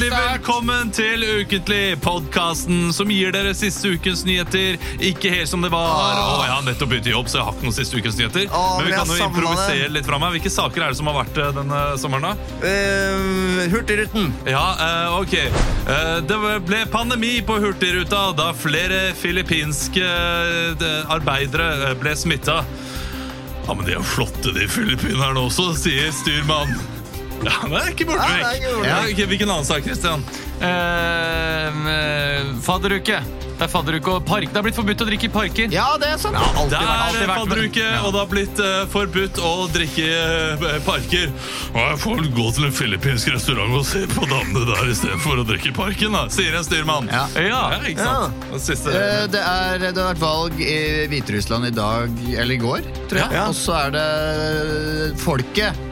Velkommen til Ukentlig, podkasten som gir dere siste ukens nyheter. Ikke helt som det var. Åh, jeg har nettopp begynt i jobb, så jeg har ikke noen siste ukens nyheter. Åh, men vi men kan jeg jo savna improvisere litt fra meg. Hvilke saker er det som har vært eh, denne sommeren, da? Eh, Hurtigruten. Ja, eh, ok. Eh, det ble pandemi på Hurtigruta da flere filippinske eh, de- arbeidere eh, ble smitta. Ja, men de er jo flotte, de filippinerne også, sier styrmann. Ja, det er ikke borte Ja, det er vekk. ikke borte Ja, vekk. ok, Hvilken annen sak, Christian? Eh, fadderuke. Det er fadderuke og park. Det har blitt forbudt å drikke i parker. Ja, det er sant. Det er alltid vært- fadderuke, og det har blitt eh, forbudt å drikke eh, parker. Og jeg får vel gå til en filippinsk restaurant og se på damene der istedenfor å drikke i parken, da, sier en styrmann. Ja. Ja, ikke sant? Den siste. Eh, Det, er, det har vært valg i Hviterussland i dag, eller i går, tror jeg. Ja. Og så er det eh, folket.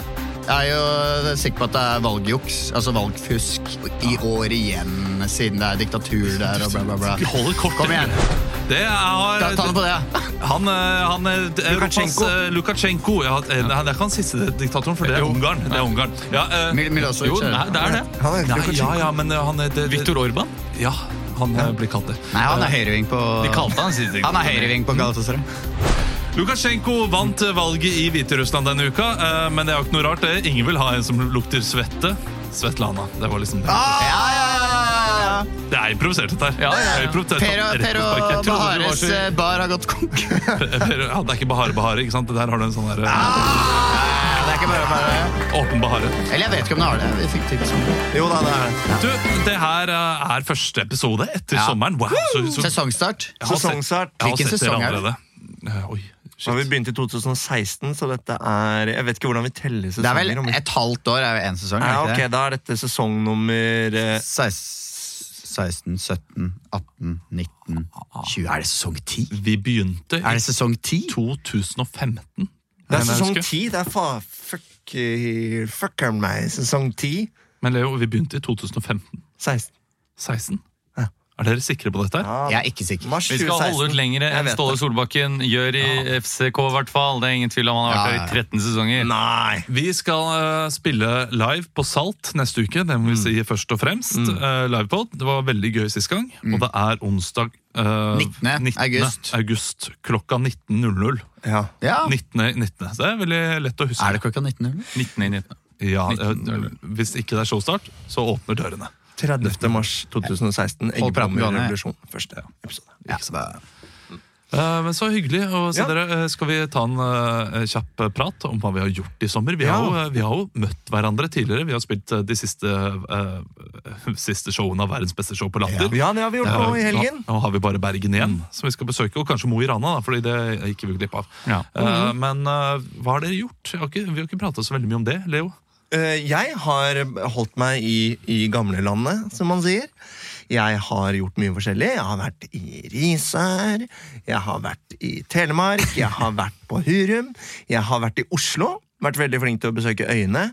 Jeg er jo sikker på at det er valgjuks, altså valgfusk, i år igjen, siden det er diktatur der og bla, bla, Vi bla. holder kort. Kom igjen. Det Ta, er ta den på det. han, eh, han eh, Europas Lukasjenko. eh, Lukasjenko. Ja, eh, nei, det er ikke han siste diktatoren, for det er Jo. Ungarn. Det er Ungarn. Ja, eh, Mil Milosevic. Jo, er det. nei, det er det. Han er nei, ja, Lukasjenko. ja, men eh, han eh, det, det, Viktor Orban. Ja, han eh, blir kalt det. Nei, han er høyreving på De kalte han siste Han er høyreving på Galatasaray. Lukasjenko vant eh, valget i Hviterussland denne uka, eh, men det er jo ikke noe rart. det. Ingen vil ha en som lukter svette. Svetlana. Det var liksom det. Ja, ja, ja, ja, ja. Det er improvisert, dette her. Ja, ja, ja. Det er improvisert, Per og, rett per på sparket. Jeg og trodde det var Bahares så- eh, bar har gått konk. Per- ja, det er ikke Bahare Bahare, ikke sant? Det Der har du en sånn der, eh, Det er ikke bare bare åpen Bahare. Eller jeg vet ikke om det har det. Vi fikk tips om det. Jo da, det er det. Du, det her eh, er første episode etter Ja. sommeren. Wow, så, så, jeg Sesongstart. har sett- Sesongstart. jeg har Hvilken sett dere sesong er det? allerede. Eh, Oi, Nå har vi shit. begynt i 2016, så dette er Jeg vet ikke hvordan vi teller Det er sesonger. vel om vi- et halvt år er jo én sesong. ja, er det ok, ikke det? Da er dette sesong nummer eh, 16, 17, 18, 19, 20 Er det sesong 10? Vi begynte Er i det sesong 10? 2015. Det er Men jeg sesong husker- ti. Det er fa... Fuck, eh, fucker meg. Sesong ti. Men Leo, vi begynte i 2015. 16. 16? Er dere sikre på dette? her? Ja, Jeg er ikke sikker. mars Vi skal holde ut 2016. lenger Jeg enn vet Ståle det. Solbakken gjør i FCK, i hvert fall. Det er ingen tvil om han har vært Ja, der i 13 sesonger. Nei! Vi skal eh, spille live på Salt neste uke. Det må Mm. vi si først og fremst. eh, livepod. Det var veldig gøy sist gang. Og det er onsdag eh, 19. Mm. august. august klokka 19.00. Ja. Ja. 19. 19. Så det er veldig lett å huske. Er det klokka 19? eller? 19 i 19. Ja, eh, 19.00. hvis ikke det er showstart, så åpner dørene. 30. mars 2016. Hold praten Eggebommer gående. revolusjon. Første episode. Ja, så det- Eh, men så hyggelig å se Ja. dere. Eh, Skal vi ta en eh, kjapp prat om hva vi har gjort i sommer? Vi, Ja. har, jo, eh, vi har jo møtt hverandre tidligere. Vi har spilt eh, de siste, eh, siste showene av Verdens beste show på Latter. Ja, det har vi gjort Ja, nå i helgen. Nå, nå har vi bare Bergen igjen, som vi skal besøke. Og kanskje Mo i Rana, da, fordi det gikk vi glipp av. Ja. Eh, men eh, hva har dere gjort? Jeg har ikke, vi har ikke prata så veldig mye om det, Leo. Eh, Jeg har holdt meg i, i gamlelandet, som man sier. Jeg har gjort mye forskjellig. Jeg har vært i Risør, jeg har vært i Telemark, jeg har vært på Hurum, jeg har vært i Oslo. Vært veldig flink til å besøke øyene.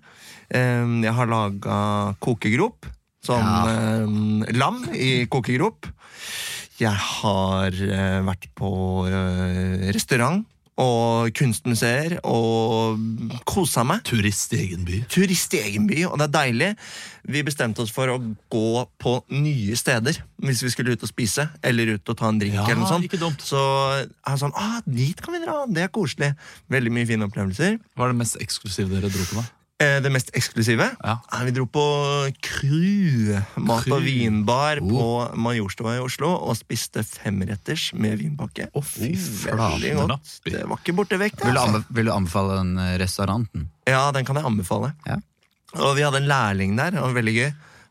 Eh, Jeg har laga kokegrop. Sånn eh, lam i kokegrop. Jeg har eh, vært på eh, restaurant og kunstmuseer og kosa meg Turist i egen by. turist i egen by, og det er deilig. Vi bestemte oss for å gå på nye steder hvis vi skulle ut og spise, eller ut og ta en drink. Ja, eller noe sånt. ikke dumt. Så er det sånn, ah, dit kan vi dra, det er koselig. Veldig mye fine opplevelser. Hva er det mest eksklusive dere dro på? da? Eh, det mest eksklusive Ja. er vi dro på Cru, mat- Cru. Oh. og vinbar på Majorstua i Oslo, og spiste femretters med vinpakke. Å, fy Veldig flate. godt. Det var ikke borte vekk. det, Vil du, altså. anbe vil du anbefale den eh, restauranten? Ja, den kan jeg anbefale. Ja. Og vi hadde en lærling der, og veldig gøy.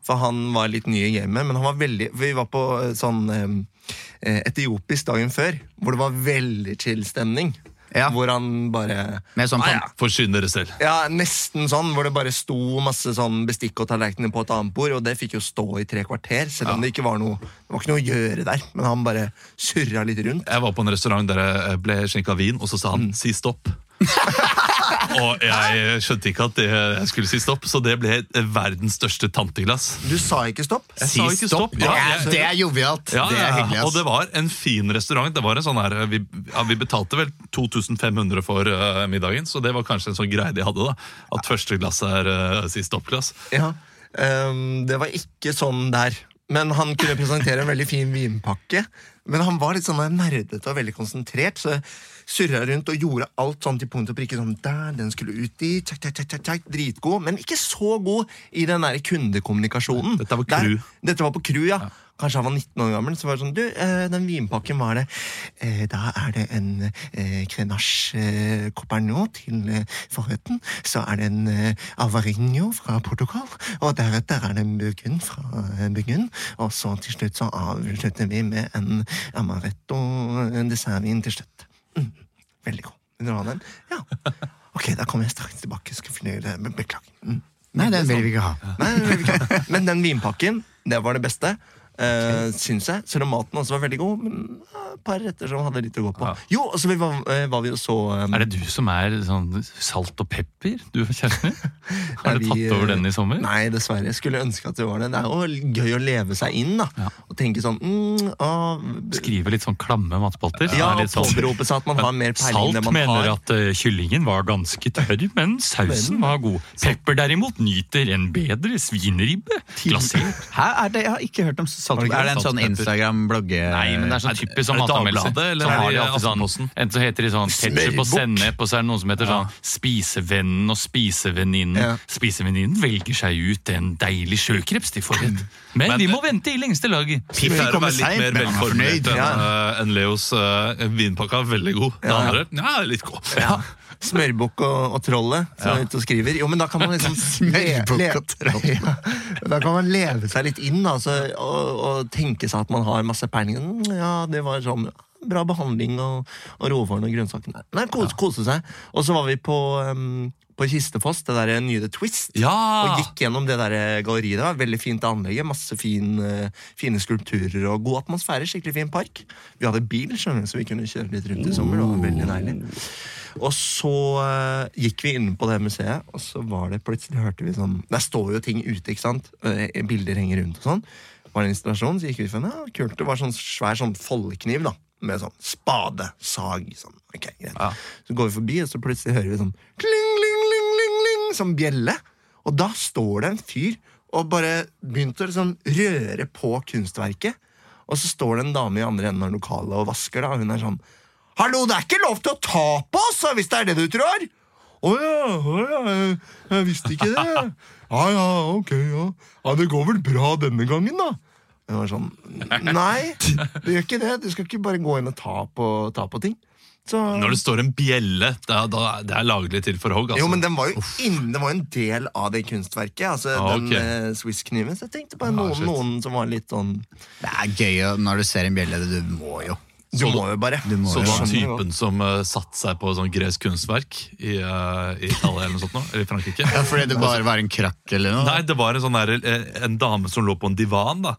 For han var litt ny i gamet, men han var veldig for Vi var på eh, sånn eh, etiopisk dagen før, hvor det var veldig chill stemning. Ja. Hvor han bare Med sånn Ah, ja. pan- Forsyn dere selv. ja, nesten sånn, hvor det bare sto masse sånn bestikk og tallerkener på et annet bord, og det fikk jo stå i tre kvarter, selv om det ikke var noe Det var ikke noe å gjøre der, men han bare surra litt rundt. Jeg var på en restaurant der jeg ble skjenka vin, og så sa Mm. han 'si stopp'. og jeg skjønte ikke at det, jeg skulle si stopp, så det ble verdens største tanteglass. Du sa ikke stopp? Jeg sa ikke stopp. Det Ja, er, jeg- det er jovialt. Ja, det er ja, hyggelig. Og ass. det var en fin restaurant. Det var en sånn her, vi, ja, vi betalte vel 2500 for eh, middagen, så det var kanskje en sånn greie de hadde. da At første glass er uh, sist oppglass. Ja. Ehm, det var ikke sånn der. Men han kunne presentere en veldig fin vinpakke. Men han var litt sånn der nerdete og veldig konsentrert, så surra rundt og gjorde alt sånn til punkt og prikke. Sånn der, den skulle ut dit, tjekk, tjekk, tjekk, tjekk, tjekk, Dritgod, men ikke så god i den der kundekommunikasjonen. Dette var Der- crew. dette var på crew, ja. Kanskje han var 19 år gammel. Så var det sånn, du, eh, den vinpakken var det. Eh, Da er det en eh, Grenache eh, Copernon til eh, forretten. Så er det en eh, Avarinho fra Portugal. Og deretter er det en Burgund fra eh, Burgund. Og så til slutt så avslutter vi med en Amaretto en dessertvin til slutt. Mm. Veldig god. Vil du ha den? Ja. Ok, da kommer jeg straks tilbake. Skal finne, beklager. Mm. Nei, den vil vi ikke ha. Nei, det vil vi ikke ha. Men den vinpakken, det var det beste. Uh, Syns jeg. Selv om maten også var veldig god. Men eh, et par retter som hadde litt å gå på. Ja. Jo, og så vi var, eh, var vi jo så eh, Er det du som er sånn salt og pepper, du kjæresten din? Har du vi, tatt over eh, den i sommer? Nei, dessverre. Jeg skulle ønske at det var det. Det er jo gøy å leve seg inn da Ja. og tenke sånn mm, å, Skrive litt sånn klamme matspalter? som Ja, er og litt sånn- påberope seg at man har mer peiling Salt enn man mener har. at eh, kyllingen var ganske tørr, men sausen var god. Pepper derimot nyter en bedre svineribbe. Glasert. Hæ? Er det, jeg har ikke hørt om salt. Har du ikke Er det en hørt om sånn saltpepper? Instagram-blogge... Nei, men det er sånn typisk Er sånn det matanmeldelse. Dagbladet, eller Så har er det de alltid sånn, Aftenposten? enten så heter de sånn ketchup og sennep, og så er det noen som heter sånn spisevennen og spisevenninnen. Ja. Spisevenninnen velger seg ut en deilig sjøkreps til forrett. Men, Men- vi må vente i lengste laget. Piff er å komme være litt sent, mer men han er fornøyd. velformulert enn Ja. eh, enn Leos eh, vinpakka. Veldig god. Det andre ja, litt god. Smørbukk og, og trollet som er ute og skriver. Jo, men da kan man liksom le- Smørbukk le- og troll. Ja, Da kan man leve seg litt inn da, så, og, og tenke seg at man har masse peiling. Mm, Ja, det var sånn bra behandling og, og råvarene og grønnsakene. Nei, kose, kose seg. Og så var vi på, um, på Kistefoss, det der nye The Twist. Ja! Og gikk gjennom det der eh, galleriet. Det var veldig fint anlegget. Masse fin, eh, fine skulpturer og god atmosfære. Skikkelig fin park. Vi hadde bil, skjønner du, så vi kunne kjøre litt rundt i sommer. Det var veldig deilig. Og så eh, gikk vi inne på det museet, og så var det plutselig hørte vi sånn Der står jo ting ute, ikke sant? Eh, Bilder henger rundt og sånn. Var det en installasjon, så gikk vi for ja, kult. Det var sånn svær sånn foldekniv, da. Med sånn spade, sag, sånn. Ok, greit. Så går vi forbi, og så plutselig hører vi sånn kling, kling, kling, kling, kling, som bjelle. Og da står det en fyr og bare begynte å sånn røre på kunstverket. Og så står det en dame i andre enden av lokalet og vasker, da, og hun er sånn Hallo, det er ikke lov til å ta på oss, hvis det er det du tror! Å ja, å ja, jeg, jeg visste ikke det. Ja ja, ok, ja. ja. Det går vel bra denne gangen, da. Det var sånn Nei, det gjør ikke det. Du skal ikke bare gå inn og ta på, ta på ting. Så, Når det står en bjelle, da, da, det er laglig til for hogg. Altså. jo, men den var jo inn, den var jo en del av det kunstverket. Altså Ah, ok. den eh, Swiss-kniven. Så jeg tenkte bare Ah, noen, shit. noen som var litt sånn Det er gøy å- når du ser en bjelle. Du må jo. Du må jo bare. Du må Så jo. det var skjønner jo. typen som uh, satte seg på sånn gresk kunstverk i, eh, i Italia eller noe sånt nå, eller i Frankrike. Ja, fordi det bare var en krakk eller noe? Nei, det var en sånn der, eh, en dame som lå på en divan. da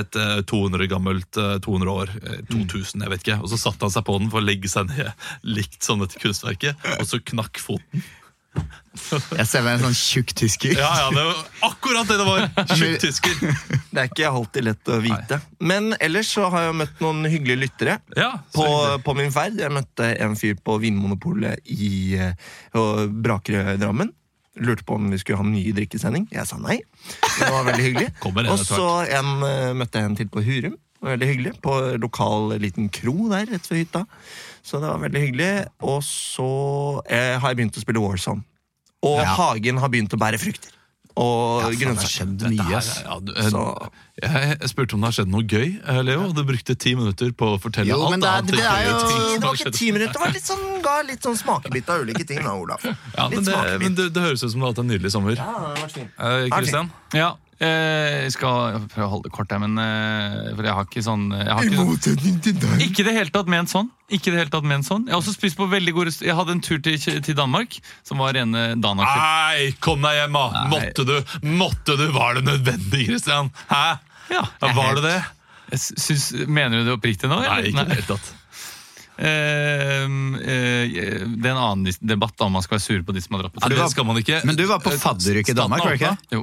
Et eh, 200 gammelt eh, 200 år. eh, Mm. 2000, jeg vet ikke. Og så satte han seg på den for å legge seg ned likt sånn etter kunstverket, og så knakk foten. Jeg ser meg en sånn tjukk tysker. Ja, ja, det var akkurat det det var! Tjukk tysker. Det er ikke alltid lett å vite. Men ellers så har jeg møtt noen hyggelige lyttere. Ja, så På, hyggelig. på min ferd. Jeg møtte en fyr på Vinmonopolet i eh, og Brakerø i Drammen. Lurte på om vi skulle ha en ny drikkesending. Jeg sa nei. Det var veldig hyggelig. Kommer en Og etter så en, eh, møtte jeg en til på Hurum. Det var Veldig hyggelig. På lokal eh, liten kro der rett ved hytta. Så det var veldig hyggelig. Og så eh, har jeg begynt å spille Warzone. Og Hagen har begynt å bære frukter. Og faen, det har grønnsaker. skjedd Dette mye, her, ass. ja, du, eh, Så- jeg, jeg spurte om det har skjedd noe gøy, eh, Leo, og du brukte ti minutter på å fortelle Jo, alt men det er- annet det er gøye jo- ting som Det har var ikke skjedd. ti minutter, det var litt sånn, ga litt sånn smakebit av ulike ting da, Olav. Ja, men det, litt smakebit. men det, det høres ut som du har hatt en nydelig sommer. Ja, det har vært fint. Eh, Christian? Ja, eh, jeg skal prøve å holde det kort her, men eh, for jeg har ikke sånn jeg har ikke, sånn- motsetning til deg. Ikke det hele tatt ment sånn. Ikke det hele tatt ment sånn. Jeg har også spist på veldig gode rest- Jeg hadde en tur til, til Danmark, som var rene Danaker. Nei, kom deg hjem, da! Måtte du? Måtte du? Var det nødvendig, Christian? Hæ? Ja, Ja, var det det? jeg syns, mener du det oppriktig nå? Nei, eller? ikke i det hele tatt. Eh, eh, det er en annen dis- debatt om man skal være sur på de som har dratt på Nei, tur. det skal man ikke. Eh, Men du var på fadderuke i Danmark, var du ikke? Jo.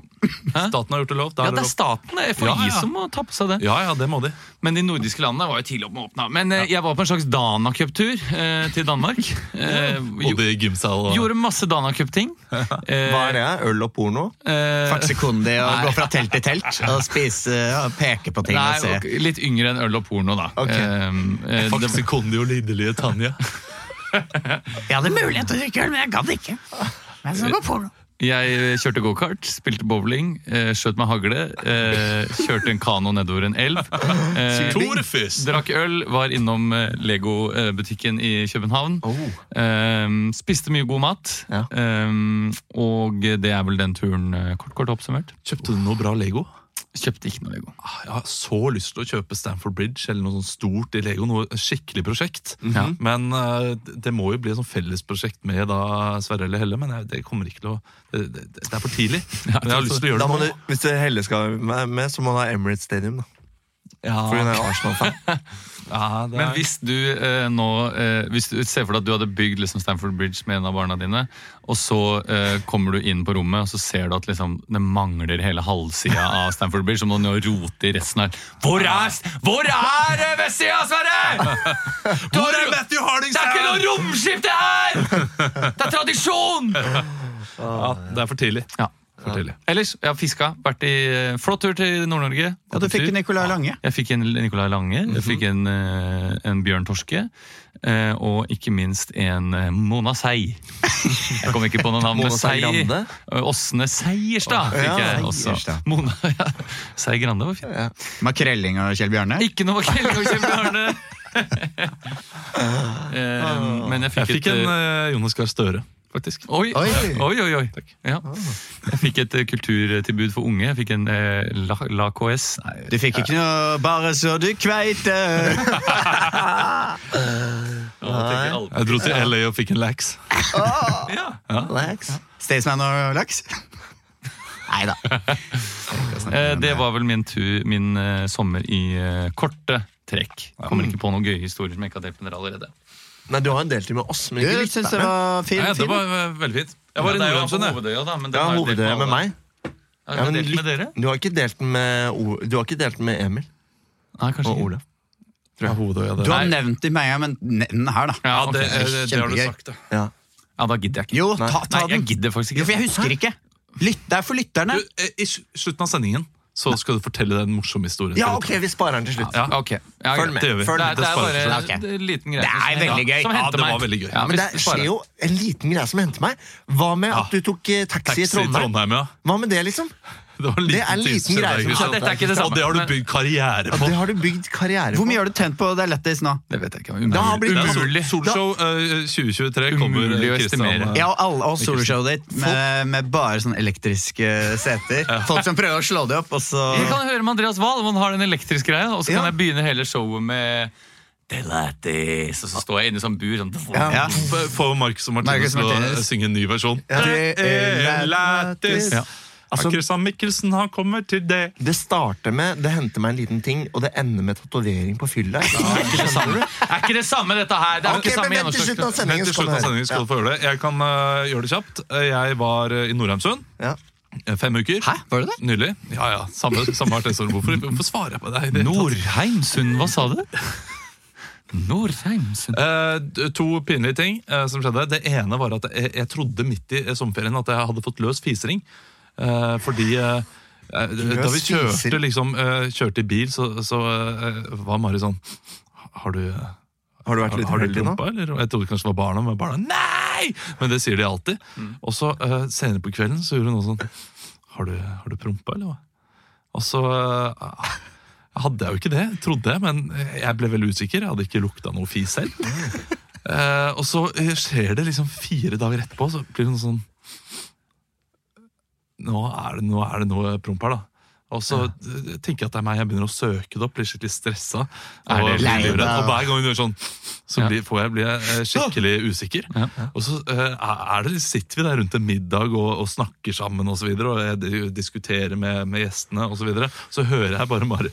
Hæ? Staten har gjort det lov. Da er Ja, det det lov. er staten. Det er FHI Ja, ja. som må ta på seg det. Ja, ja, det må de. Men de nordiske landene var jo tidlig opp med å åpne. Men eh, jeg var på en slags Danacup-tur eh, til Danmark. Eh, jo, Både i gymsal og gjorde masse Danacup-ting. Hva er det? Øl og porno? Eh, Fartsekundi og gå fra telt til telt og spise og peke på ting og nei, se. og litt yngre enn øl og porno, da. Ok. Eh, eh, det, Faktisk Kondi og liderlige Tanja. Jeg hadde mulighet til å drikke øl, men jeg gadd ikke. Men så går porno. jeg kjørte gokart, spilte bowling, eh, skjøt med hagle, eh, kjørte en kano nedover en elv. eh, Torfis! Drakk øl, var innom eh, Lego-butikken i København. Ehm, spiste mye god mat. Ja. Ehm, og det er vel den turen, eh, kort, kort oppsummert. Kjøpte du noe bra Lego? Kjøpte ikke noe Lego. Ah, Jeg har så lyst til å kjøpe Stanford Bridge eller noe sånt stort i Lego. Noe skikkelig prosjekt. Men eh, det må jo bli et sånt fellesprosjekt med da Sverre eller Helle. Men jeg, det kommer ikke til å det, det, det er for tidlig. Men jeg har lyst til å gjøre Da det må nå. du, hvis det Helle skal være med, så må hun ha Emirates Stadium. da For hun Ja, er jo Arsenal-fan. ja, det er- Men hvis du eh, nå eh, Hvis du ser for deg at du hadde bygd liksom Stanford Bridge med en av barna dine, og så eh, kommer du inn på rommet og så ser du at liksom, det mangler hele halvsida av Stanford Bridge, så må du nå rote i resten her. Hvor er, hvor er eh, vestsida, altså! Sverre?! Hvor er Matthew Harding? Det er ikke noe romskifte her! Det er tradisjon! ja, det er for tidlig. Ja. For tidlig. Ellers, jeg har fiska. Vært i eh, flott tur til Nord-Norge. Ja, du fikk Tur. Nicolai Lange. Jeg fikk en Nicolai Lange, Mhm. jeg fikk en, eh, en Bjørn Torske, eh, og ikke minst en eh, Mona Sei. Jeg kom ikke på noe navn, men Mona Sei Sei. Grande? Eh, Åsne Seierstad fikk Ja, jeg også. Seierstad. Mona ja. Sei Grande var fint. Makrelling og Kjell Bjarne? Ikke noe Kellogg-kjempearne! Men Jeg jeg fikk, fikk et, en eh, eh, Jonas Gahr Støre, faktisk. Oi, Oi. oi, oi. oi, Ja. Jeg fikk et eh, kulturtilbud for unge. Jeg fikk en eh, La, la KS. Nei, Du fikk ikke noe bare så du kveite. Jeg dro til LA og fikk en lax. ja. Relax. Staysman og laks? Nei da. Eh, det var vel min, tur, min eh, sommer i eh, korte trekk. Kommer ikke på noen gøye historier som jeg ikke har delt med dere allerede. Nei, du har jo delt det med oss, men Du ikke syns lytterne. det var Nei, fint? det var eh, veldig fint. Jeg var i Det er jo Nordheimsund, på jeg. Hovedøya, da, men Ja, den har jeg delt hovedet med alle. meg. Ja, Ja, jeg har men delt med litt- dere? Du har ikke delt den med, O- du har ikke delt den med Emil Nei, kanskje og ikke. Olav. Ja, Hovedøya, det. Du har Nei. nevnt det med en gang, men nevn den her, da. Ja, Ja, ok. det, eh, det, det har du Kjempegøy. sagt, ja. Ja. ja, da gidder jeg ikke. Jo, ta, Nei, ta den. jeg gidder faktisk Jo, for ikke. jeg husker ikke. Lytt, det er for lytterne. Du, eh, I sl- slutten av sendingen så skal du fortelle den morsomme historien. ja, ok, vi sparer den til slutt. Ja. Ok. Ja, Følg greit. med. Det gjør vi. Følg Det med. er, det er bare Ok. en liten greie. Det er veldig gøy. Som Ja, henter det var meg. veldig gøy. Ja, Men det skjer jo en liten greie som hendte meg. Hva med at du tok eh, taxi Taxi i i Trondheim? Trondheim, ja. Hva med det, liksom? Det, var en Det er en liten tidsskjedd greie der, som Christian. skjedde. Dette er ikke Og det det samme. har du bygd karriere Ja, på. det har du bygd karriere Hvor på. mye har du tent på det er lettis nå? Det vet jeg ikke. Det har blitt Det er Umulig. Sol- Solshow eh, 2023 kommer Umulig å Kristian estimere. Ja, og alle og soloshowet ditt med, med bare sånn elektriske seter. Folk som prøver å slå det opp, og så Jeg kan høre med Andreas Wahl om han har den elektriske greia, og så kan Ja. jeg begynne hele showet med det er lættis, og så står jeg inne i sånn bur sånn. ja. F- Få Marcus og Marcus Martinus til å Martinus. synge en ny versjon. Ja. Det er lættis! Ja. Altså, Christian Mikkelsen, han kommer til det. Det starter med det henter meg en liten ting, og det ender med tatovering på fylla. Er ikke det samme dette her? Det er jo Ok, ikke men samme vent til slutten av gjennomslagskraft. sendingen. Helt til slutten av skal du høre. sendingen skal du få høre det. Jeg kan eh, gjøre det kjapt. Eh, Jeg var eh, i Nordheimsund Ja. eh, fem uker. Hæ? Var det det? Nylig. Ja, ja. Samme, samme artistår. Hvorfor, hvorfor svarer jeg på deg? i det hele tatt? Nordheimsund, hva sa du? Nordheimsund Eh, d- to pinlige ting eh, som skjedde. Det ene var at jeg, jeg trodde midt i eh, sommerferien at jeg hadde fått løs fisering. Eh, fordi eh, eh, da vi kjørte, fisering? liksom, eh, kjørte i bil, så, så eh, var Mari sånn Har du eh, Har du vært litt har du uheldig nå? prompa, eller? Og Jeg trodde kanskje det var barna, men barna Nei! Men det sier de alltid. Mm. Og så eh, senere på kvelden så gjorde hun noe sånn Har du, har du prompa, eller hva? Og så eh, hadde jeg jo ikke det, trodde jeg, men jeg ble veldig usikker. Jeg hadde ikke lukta noe fis selv. Eh, og så eh, skjer det liksom fire dager etterpå, så blir hun sånn nå er, det, nå er det noe promp her, da. Og så eh, tenker jeg at det er meg, jeg begynner å søke det opp, blir skikkelig stressa. Er Og, det blir lei deg? livredd. og hver gang hun gjør sånn, så Ja. blir, får jeg, blir jeg eh, skikkelig usikker. Ja. Og så eh, er det, sitter vi der rundt en middag og, og snakker sammen og så videre, og jeg d- diskuterer med, med gjestene og så videre. Så hører jeg bare Mari.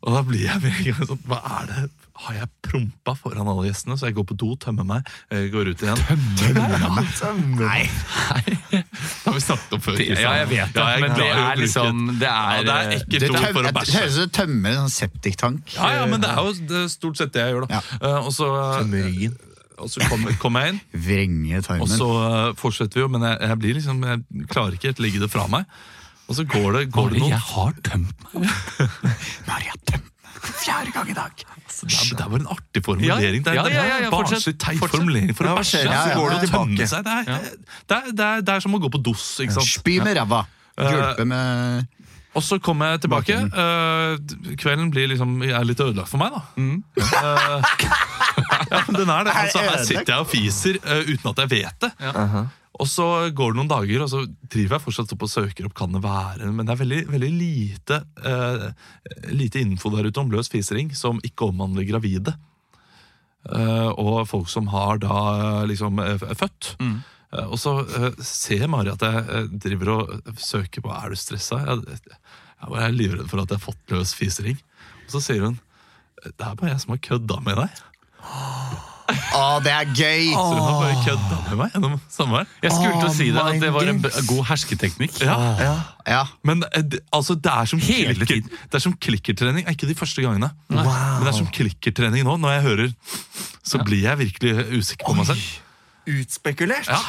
Og da blir jeg med en gang sånn Hva er det? har jeg prompa foran alle gjestene, så jeg går på do, tømmer meg, eh, går ut igjen. Nei. Det har vi snakket om før. Kristian. Ja, jeg vet det, Ja, jeg men det klarer å er bruke- liksom Det ja, er, Det er Det ekkelt ord tøm- for å det høres bæsje. ut som du tømmer en sånn septiktank. Ja, ja, men det er jo det er stort sett det jeg gjør, da. Eh, og så, eh, Mørien. og så kommer kom jeg inn, Vrenge tarmen. og så eh, fortsetter vi jo, men jeg, jeg blir liksom Jeg klarer ikke helt legge det fra meg. Og så går det, går det Bare, noen jeg har tømt meg. Maria tømmer fjerde gang i dag. Det er, det er bare en artig formulering. Det er, Ja, ja, ja, det er ja, en barnslig, fortsett, teit fortsett. formulering for å Ja, hva bæsje. skjer? så Ja, går ja, det og ja. tømmer seg. Det er, det, er, det, er, det er som å gå på dos, ikke sant. Spy med ræva. Eh, Gulpe med Og så kommer jeg tilbake. eh, kvelden blir liksom, er litt ødelagt for meg, da. Eh, ja, men den er det. Altså, her sitter jeg og fiser eh, uten at jeg vet det. Og så går det noen dager, og så driver jeg fortsatt opp og søker opp kan det være, men det er veldig, veldig lite, eh, lite info der ute om løs fisering som ikke omhandler gravide. Eh, og folk som har da eh, liksom eh, f- født. Eh, og så eh, ser Mari at jeg eh, driver og søker på Er du stressa. Jeg, jeg er livredd for at jeg har fått løs fisering. Og så sier hun det er bare jeg som har kødda med deg. Å, det er gøy! Så hun har bare kødda med meg gjennom samvær. Jeg skulle til å si det, Oh at det my var en b- goodness. god hersketeknikk. Ja. Ja. Men eh, det- altså, det er som, Hele klikker, tiden. det er som klikkertrening. Er ikke de første gangene. Men det er Wow. som klikkertrening nå. Når jeg hører, så blir jeg virkelig usikker på meg selv. Utspekulert? Ja.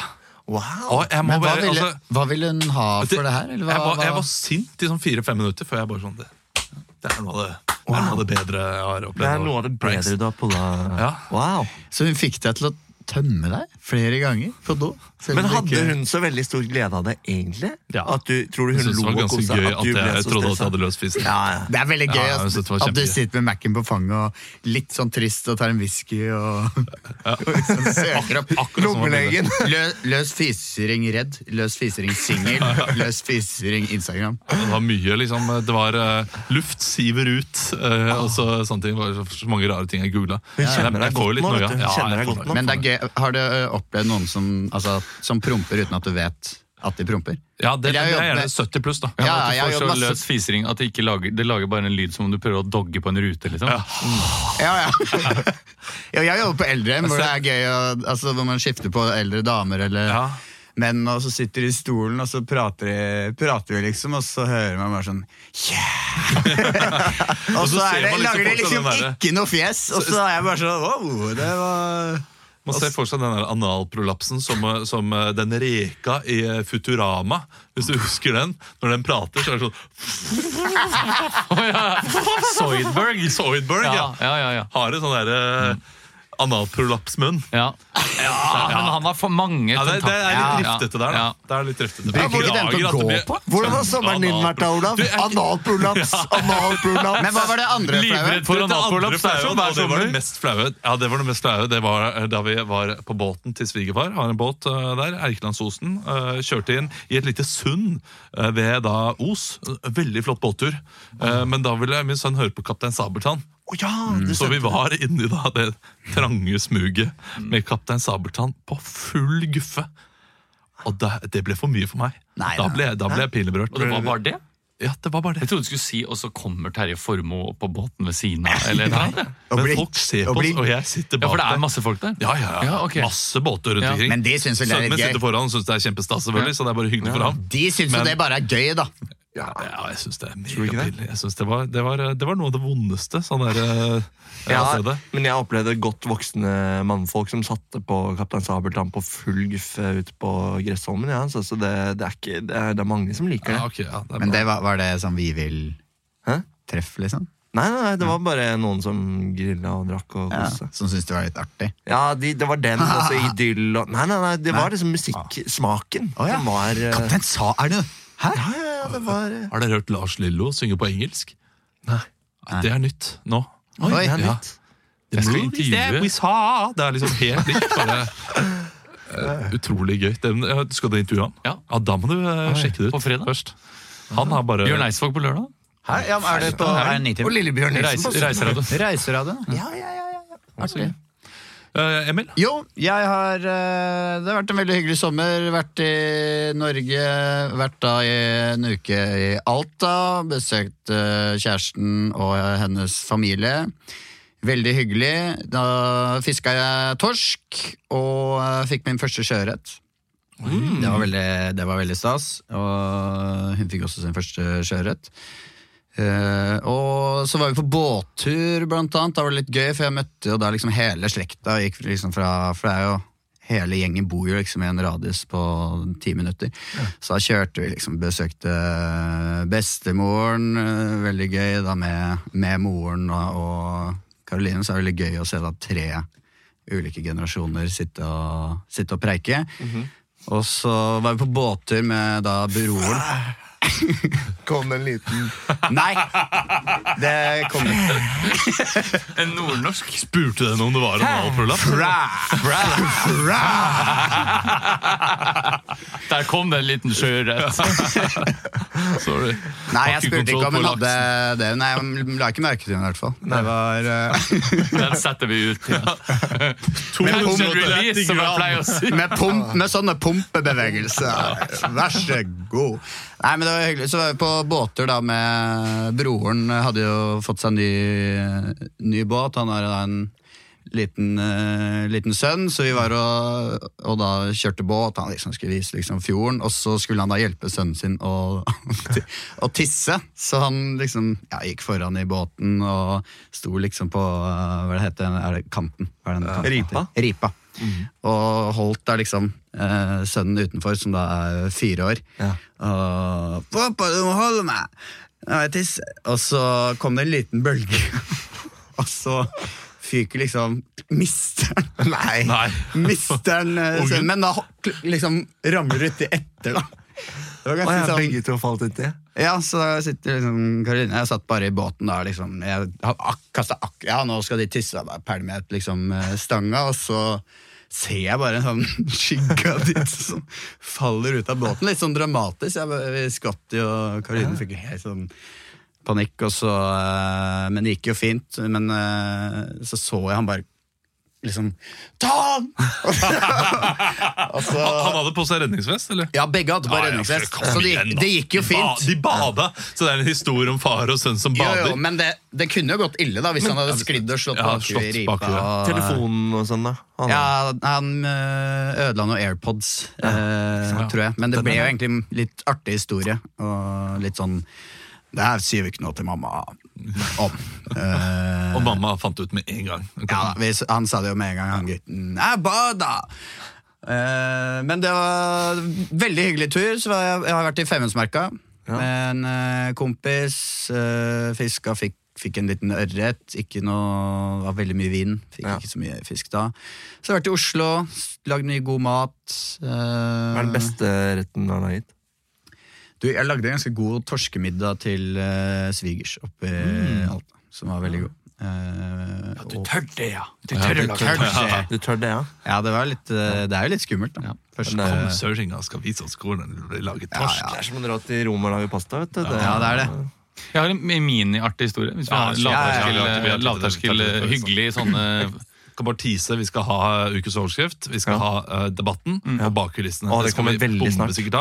Wow. Og jeg må Men hva bare, ville, altså, hva ville hun ha for det her? Eller hva, jeg, var, jeg hva? var sint i sånn fire-fem minutter før jeg bare sånn Det, det er noe av det, det, er noe av det bedre jeg har opplevd. Det er noe av det bedre du har pulla. Ja. Wow. Så hun fikk deg til å tømme deg flere ganger på do? selv om Men du hadde ikke- hun så veldig stor glede av det, egentlig? Ja. At du, tror du Jeg hun synes det lo var og ganske kosa? gøy At at du jeg, ble jeg så trodde at jeg stressa? hadde løs fisting. Ja, ja. Det er veldig gøy Ja, jeg at, synes det at var du kjempegøy. sitter med Mac-en på fanget og litt sånn trist og tar en whisky og, og liksom søker opp som var bildet. lommelegen. Lø, løs fisering redd, løs fisering singel, løs fisering Instagram. Det var mye, liksom. Det var eh, luft siver ut, eh, og så sånne ting. Det var så, så mange rare ting jeg googla. Hun kjenner deg godt nå, vet du. Hun kjenner deg godt nå. Men det er gøy. Har du ø, opplevd noen som, altså, som promper uten at du vet at de promper? Ja, Eller det, det jeg er har gjerne jobbet- 70 pluss, da. Ja, Ja. At du jeg har får så jobbet løs masse fisering at det ikke lager, det lager bare en lyd som om du prøver å dogge på en rute. liksom. Ja, ja. ja jeg jobber på eldrehjem, hvor det er gøy å, altså, hvor man skifter på eldre damer eller Ja. menn, og så sitter de i stolen, og så prater de, prater de liksom, og så hører man bare sånn Yeah! og så så ser er det, man liksom lager de fortsatt liksom den derre- ikke noe fjes, og så er jeg bare sånn Wow, det var Man ser for seg den der analprolapsen som, eh, som eh, den reka i eh, Futurama. Hvis du husker den. Når den prater, så er det sånn Soydberg! Zoidberg, ja. Ja, ja, ja, ja. Har en sånn derre analprolapsmunn. Ja. men han har for mange Ja, det, det er Ja, litt ja, driftete der, da. ja. Det er litt driftete. Bruker ikke den til å gå på? Hvordan har sommeren din vært, da, Olav? Analprolaps, analprolaps. Men hva var det andre flaue? Livredd for analprolaps er jo hver Det var det sommer. mest flaue. Ja, det var det mest flaue. Det var eh, da vi var på båten til svigerfar. Har en båt eh, der, Eikelandsosen. eh, Kjørte inn i et lite sund eh, ved da Os. Veldig flott båttur. Eh, Men da ville min sønn høre på Kaptein Sabeltann. Å ja, du Mm. Så vi var inni da det trange smuget med Kaptein Sabeltann på full guffe. Og det, det ble for mye for meg. Nei, da nei. ble, da ble jeg Og det pineberørt. var bare det? Ja, det var bare det. Jeg trodde du skulle si 'og så kommer Terje Formoe opp på båten ved siden av'. eller et eller annet. Men bli- folk ser på og bli- oss, og jeg sitter Ja, bak For det er der. masse folk der? Ja, ja, ja. Ja, ok. Masse båter rundt Ja. omkring. Men de syns vel det er Sønnen min litt sitter gøy. foran og syns det er kjempestas, selvfølgelig, så det er bare hyggelig for ham. De syns jo Men- det bare er gøy, da. Ja, jeg syns det er du ikke det? megapinlig. Jeg synes det, var, det, var, det var noe av det vondeste sånn der eh, Ja, stedet. men jeg opplevde godt voksne mannfolk som satte på Kaptein Sabeltann på full guffe ute på Gressholmen. Ja. altså. Så, så det, det, er ikke, det, er, det er mange som liker det. Ja, ok, ja, det er Men bra. det var, var det sånn vi vil Hæ? treff, liksom? Nei, nei, nei, det var bare noen som grilla og drakk og Ja, koste. som syns det var litt artig? Ja, de, det var den, og så idyll og Nei, nei, nei, det var liksom musikksmaken Å, ja. som var eh, Kaptein Sa... Er det Hæ? Ja, ja, ja, det var eh, Har dere hørt Lars Lillo synge på engelsk? Nei. Det er nytt nå. Oi, det er ja. nytt. The Jeg skal movies that intervjue. we saw. Det er liksom helt likt. Bare, eh, utrolig gøy. Den, ja, skal du intervjue han? Ja. Da må du eh, sjekke det ut på fredag? først. Han har bare Bjørn Eidsvåg på lørdag? Hæ? Ja, men er det på er det Og Nitrim? Lillebjørn Nilsen. Reise- på søndag. Reiseradioen. Reiseradioen? Ja, ja, ja, ja, ja. Artig. Eh, Emil? Jo, jeg har eh, Det har vært en veldig hyggelig sommer. Vært i Norge, vært da i en uke i Alta. Besøkt eh, kjæresten og hennes familie. Veldig hyggelig. Da fiska jeg torsk og eh, fikk min første sjøørret. Det var veldig, det var veldig stas. Og hun fikk også sin første sjøørret. Eh, og så var vi på båttur, blant annet. Da var det litt gøy, for jeg møtte jo da liksom hele slekta. Gikk liksom fra, for det er jo Hele gjengen bor jo liksom i en radius på ti minutter. Så da kjørte vi liksom, besøkte eh, bestemoren. eh, Veldig gøy da med, med moren og, og Karoline. Så er det veldig gøy å se da tre ulike generasjoner sitte og, sitte og preike. Og så var vi på båttur med da broren. Kom en liten Nei! Det kom ikke. En nordnorsk? Spurte den om det var en hvalpull-up? Der kom det en liten sjøørret. Sorry. Nei, Har jeg spurte ikke kontroll ikke om på hun hadde det. Nei, jeg la ikke merke til henne i hvert fall. Det var eh, Den setter vi ut. Ja. To Catch and hundre release, som jeg gram. pleier å si. med, pump, med sånne pumpebevegelser. Vær så god. Nei, men det var hyggelig. Så var vi på båter da med broren. Hadde jo fått seg en ny, ny båt. Han har da en liten, eh, liten sønn, så vi var og, og da kjørte båt. Han liksom skulle vise liksom fjorden, og så skulle han da hjelpe sønnen sin å, å tisse. Så han liksom ja, gikk foran i båten og sto liksom på eh, hva det heter er det kanten. Hva er det den kanten? Ripa. Ripa. Mhm. Og holdt da liksom eh, sønnen utenfor, som da er fire år. Ja. Og 'Pappa, du må holde meg!' «Ja, jeg tisser. Og så kom det en liten bølge, og så fyker liksom Mister han Nei! Nei. Mister han eh, sønnen, men da hok- liksom ramler du uti etter, da. Det var Å ganske ja, sånn- begge to falt uti. ja, så da sitter liksom Karoline Jeg satt bare i båten da, liksom. Jeg har ak kastet ak Ja, nå skal de tisse. Jeg bare pælmer jeg ut liksom eh, stanga, og så ser jeg bare en sånn skygge av ditt som faller ut av båten. Litt sånn dramatisk. Jeg bare, vi skvatt jo, og Karoline fikk helt sånn panikk, og så eh, Men det gikk jo fint. Men eh, så så jeg han bare liksom Ta han! og så Han han hadde på seg redningsvest, eller? Ja, begge hadde bare Ja, ja, redningsvest, kom så det igjen, gikk, da. det gikk jo De ba- fint. De bada, så det er en historie om far og sønn som Jo, bader. altså, jo, men det, det kunne jo gått ille da hvis han hadde sklidd og slått Ja, bakover slått i ripa. bakover, ja. Telefonen og sånn, da. Han- Ja, han øh, ødela noen AirPods, øh, tror jeg. Men det ble jo egentlig en litt artig historie. Og litt sånn Det her sier vi ikke noe til mamma om. Eh, Og mamma fant ut med en gang. ja, da, vi, han sa det jo med en gang, han gutten. Jeg bada! Eh, men det var veldig hyggelig tur. Så var jeg, jeg har vært i Femundsmerka med en eh, kompis. Uh, fiska, fikk, fikk en liten ørret. Ikke noe, det var veldig mye vin. Fikk Ja. ikke så mye fisk da. Så har jeg vært i Oslo, s- lagd mye god mat. eh, Hva er den beste retten han har gitt? Du, jeg lagde en ganske god torskemiddag til eh, svigers oppe i Mm. Alta, som var veldig god. Eh, og- tør det, ja. Du Ja, du tør det. Du tør det, ja? Ja, det, var litt, eh, det er jo litt skummelt, da. Første, Men det er- Søringa skal vise oss hvordan det blir laget Ja, torsk. ja. Det er som å dra til Roma og lage pasta. vet du. ja, det er det. Jeg har en miniartig historie. Hvis vi Ja, har ja, lavterskel, ja, ja, ja. lavterskel Ja, ja, ja. hyggelig sånne Vi kan bare tease. Vi skal ha eh, ukes overskrift, vi skal ha eh, debatten og bakkulissene. Å, det skal kommer vi veldig snart. bombesikkert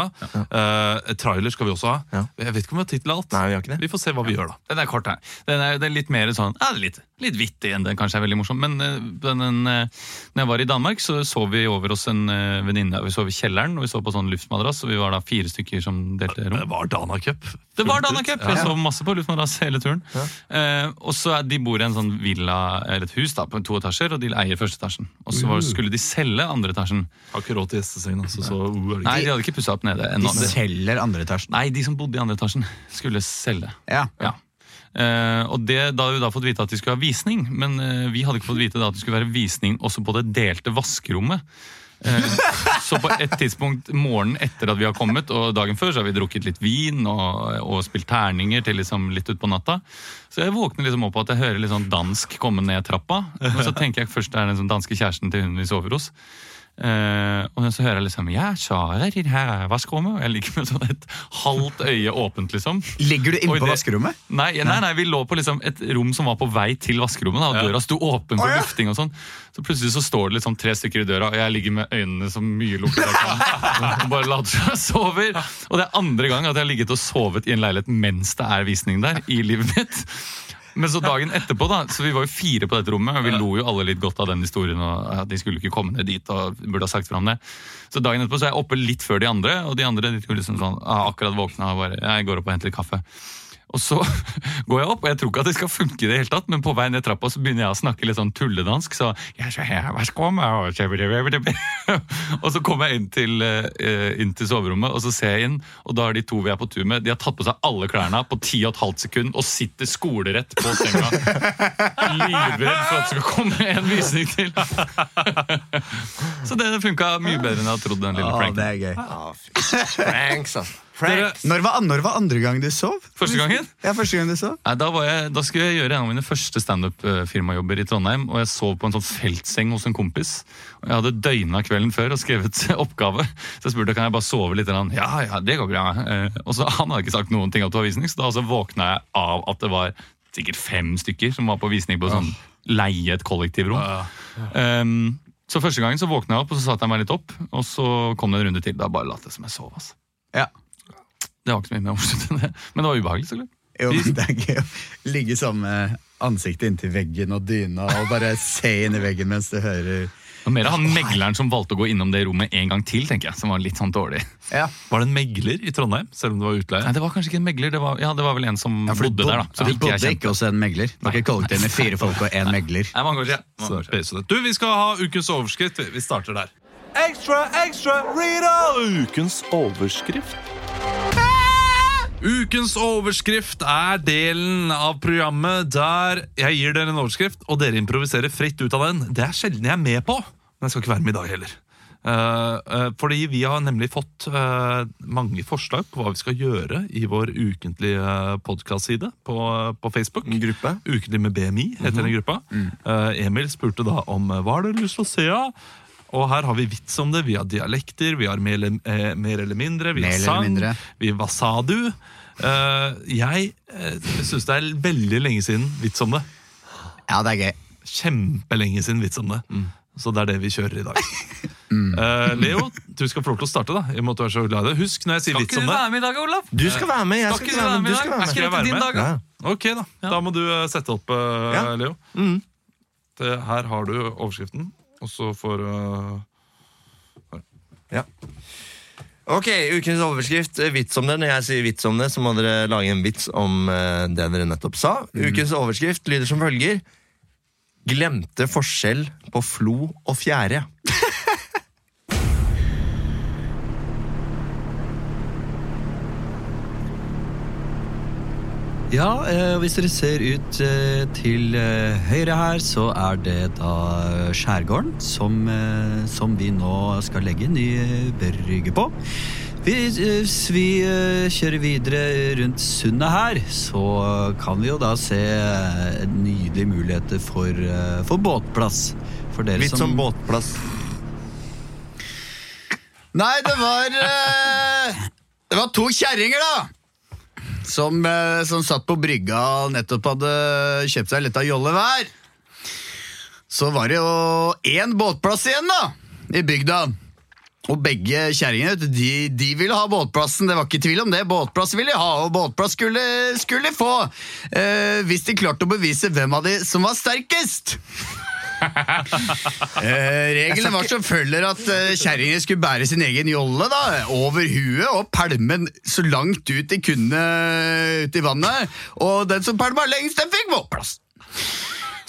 ha. Eh, trailer skal vi også ha. Ja. Jeg vet ikke om vi har tid til alt. Nei, vi har ikke det. Vi får se hva vi gjør, da. Den er kort her. Den er, den er litt mer sånn, ja, litt, litt vittig enn den kanskje er veldig morsom. Men eh, den, den, eh, når jeg var i Danmark, så sov vi over oss en eh, venninne. Vi sov i kjelleren, og vi sov på sånn luftmadrass, og vi var da fire stykker som delte rom. Det var Dana Cup. Det var Dana Cup! Jeg sov masse på luftmadrass hele turen. Eh, og så er, De bor i en sånn villa, eller et hus da, på to etasjer, og de eier første etasjen. Og så var, skulle de selge andre etasjen. Har ikke råd til gjesteseng, altså, så uh, er det Nei, ikke. de hadde ikke pussa opp nede ennå. De selger andre etasjen. Nei, de som bodde i andre etasjen, skulle selge. Ja. Ja. Eh, og det, Da hadde vi da fått vite at de skulle ha visning, men eh, vi hadde ikke fått vite da at det skulle være visning også på det delte vaskerommet. Eh, så på et tidspunkt morgenen etter at vi har kommet, og dagen før, så har vi drukket litt vin og, og spilt terninger til liksom litt utpå natta. Så jeg våkner liksom opp av at jeg hører litt sånn dansk komme ned trappa. Og så tenker jeg først det er den sånn danske kjæresten til hun vi sover hos. Eh, og så hører jeg liksom Ja, Sara, din her er vaskerommet. Og jeg ligger med sånn et halvt øye åpent, liksom. Ligger du Oi, inne på det- vaskerommet? Nei, nei, nei, vi lå på liksom et rom som var på vei til vaskerommet. Da, og døra sto åpen for lufting og sånn. Så plutselig så står det liksom tre stykker i døra, og jeg ligger med øynene så mye lukket. av kameraet, Og bare later som jeg sover. Og det er andre gang at jeg har ligget og sovet i en leilighet mens det er visning der. i livet mitt. Men så dagen etterpå, da, så vi var jo fire på dette rommet, og vi lo jo alle litt godt av den historien. og at De skulle ikke komme ned dit og burde ha sagt fra om det. Så dagen etterpå så er jeg oppe litt før de andre, og de andre de skulle liksom sånn, ah, akkurat våkna og bare Jeg går opp og henter litt kaffe. Og så går jeg opp, og jeg tror ikke at det skal funke, i det hele tatt, men på vei ned trappa så begynner jeg å snakke litt sånn tulledansk. Så jeg så her, hva skal man ha? Og så kommer jeg inn til, eh, inn til soverommet, og så ser jeg inn, og da er de to vi er på tur med, de har tatt på seg alle klærne på 10,5 sekund og sitter skolerett på senga. Livredd for at det skal komme en visning til. Så det funka mye bedre enn jeg hadde trodd. den lille pranken. er gøy. Ah, fy. Pranks, altså. Dere, Pranks. Når var, når var andre gang du sov? Første gangen? Ja, første gang du sov. Nei, da, var jeg, da skulle jeg gjøre en av mine første standup-firmajobber i Trondheim. Og jeg sov på en sånn feltseng hos en kompis. Og jeg hadde døgna kvelden før og skrevet oppgave. Så jeg spurte kan jeg bare sove litt. grann? Ja, ja, det går bra. Eh, Og så Han hadde ikke sagt noen ting opp til avvisning, så da altså våkna jeg av at det var sikkert fem stykker som var på visning på sånn leie et kollektivrom. Um, så første gangen så våkna jeg opp, og så satte jeg meg litt opp. Og så kom det en runde til. Da bare lot jeg som jeg sov. altså. Ja. Det var ikke så mye mer morsomt enn det. Men det var ubehagelig, så klart. Jo, men det er gøy å ligge sånn med ansiktet inntil veggen og dyna og bare se inn i veggen mens du hører Og mer han megleren som valgte å gå innom det rommet en gang til, tenker jeg, som var litt sånn dårlig. Ja, var det en megler i Trondheim, selv om det var utleie? Nei, det var kanskje ikke en megler, det var, ja, det var vel en som bodde der, da. Så som du ikke jeg bodde kjente. ikke hos en megler? Du ikke kollektiv med fire folk og én megler? Nei, mange år siden. Mange år siden. Så det- Du, vi skal ha ukens overskritt. Vi- Vi starter der. Ukens overskrift er delen av programmet der jeg gir dere en overskrift, og dere improviserer fritt ut av den. Det er sjelden jeg er med på, men jeg skal ikke være med i dag heller. Eh, eh, fordi vi har nemlig fått eh, mange forslag på hva vi skal gjøre i vår ukentlige podkastside på, eh, på Facebook. Gruppe. Ukentlig med BMI heter den gruppa. Eh, Emil spurte da om eh, hva har dere lyst til å se av. Og her har vi vits om det. Vi har dialekter, vi har mer eller, eh, mer eller mindre, vi har Mer eller sang, mindre. vi hva sa du? Eh, jeg uh, syns det er veldig lenge siden vits om det. Ja, det er gøy. Kjempelenge siden vits om det. Så det er det vi kjører i dag. Eh, Leo, du skal få lov til å starte. da I og med at du er så glad i det Husk når jeg sier Skal vits ikke om du det. være med i dag, Olav? Du skal være med. Jeg skal ikke være med. Du skal være med. Skal jeg være med? Ja. Ok, da. Da må du eh, sette opp, eh, Ja. Leo. Mm. Det, her har du overskriften, og så får eh, Ok, ukens overskrift. eh, Vits om det. Når jeg sier vits om det, så må dere lage en vits om eh, det dere nettopp sa. Ukens overskrift lyder som følger. Glemte forskjell på flo og fjære. Ja, eh, hvis dere ser ut eh, til eh, høyre her, så er det da eh, skjærgården som, eh, som vi nå skal legge en ny eh, brygge på. Vi, eh, s- vi eh, kjører videre rundt sundet her, så kan vi jo da se eh, nydelige muligheter for, eh, for båtplass. For dere Vits om som båtplass. Nei, det var eh, Det var to kjerringer, da! Som, eh, som satt på brygga og nettopp hadde kjøpt seg litt av jolle hver. Så var det jo én båtplass igjen, da, i bygda. Og begge kjerringene vet du, de, de ville ha båtplassen. Det var ikke tvil om det. Båtplass ville de ha, og båtplass skulle, skulle de få. Eh, hvis de klarte å bevise hvem av de som var sterkest. Eh, regelen var som følger at eh, kjerringene skulle bære sin egen jolle da, over huet og pælmen så langt ut de kunne ut i vannet. Og den som pælma lengst, den fikk båtplass.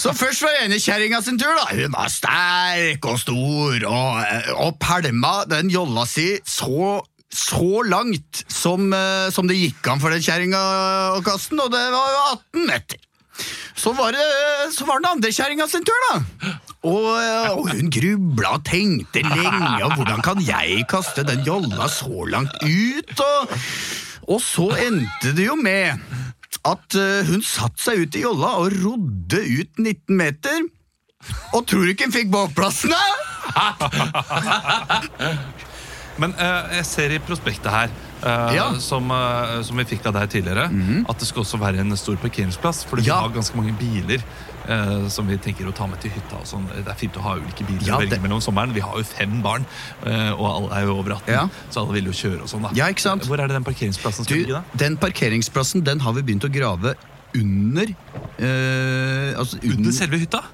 Så først var det ene kjerringa sin tur. da Hun var sterk og stor og, eh, og pælma den jolla si så så langt som, eh, som det gikk an for den kjerringa å kaste den, og det var jo 18 meter. Så var det, så var det den andre kjerringa sin tur, da. Og, eh, og hun grubla og tenkte lenge. Og hvordan kan jeg kaste den jolla så langt ut? Og, og så endte det jo med at eh, hun satte seg ut i jolla og rodde ut 19 meter. Og tror du ikke hun fikk bakplassen, da? Men eh, jeg ser i prospektet her, eh, Ja. Mhm. som, eh, som vi fikk av deg tidligere, at det skal også være en stor parkeringsplass. Fordi Ja. vi har ganske mange biler eh, som vi tenker å ta med til hytta. Og sånn. det er fint å ha ulike biler Ja, å velge det- mellom sommeren. Vi har jo fem barn, eh, og alle er jo over 18, Ja. så alle vil jo kjøre og sånn. da Ja, ikke sant? Hvor er det den parkeringsplassen skal Du, ligge, da? den parkeringsplassen den har vi begynt å grave under eh, altså Under selve hytta?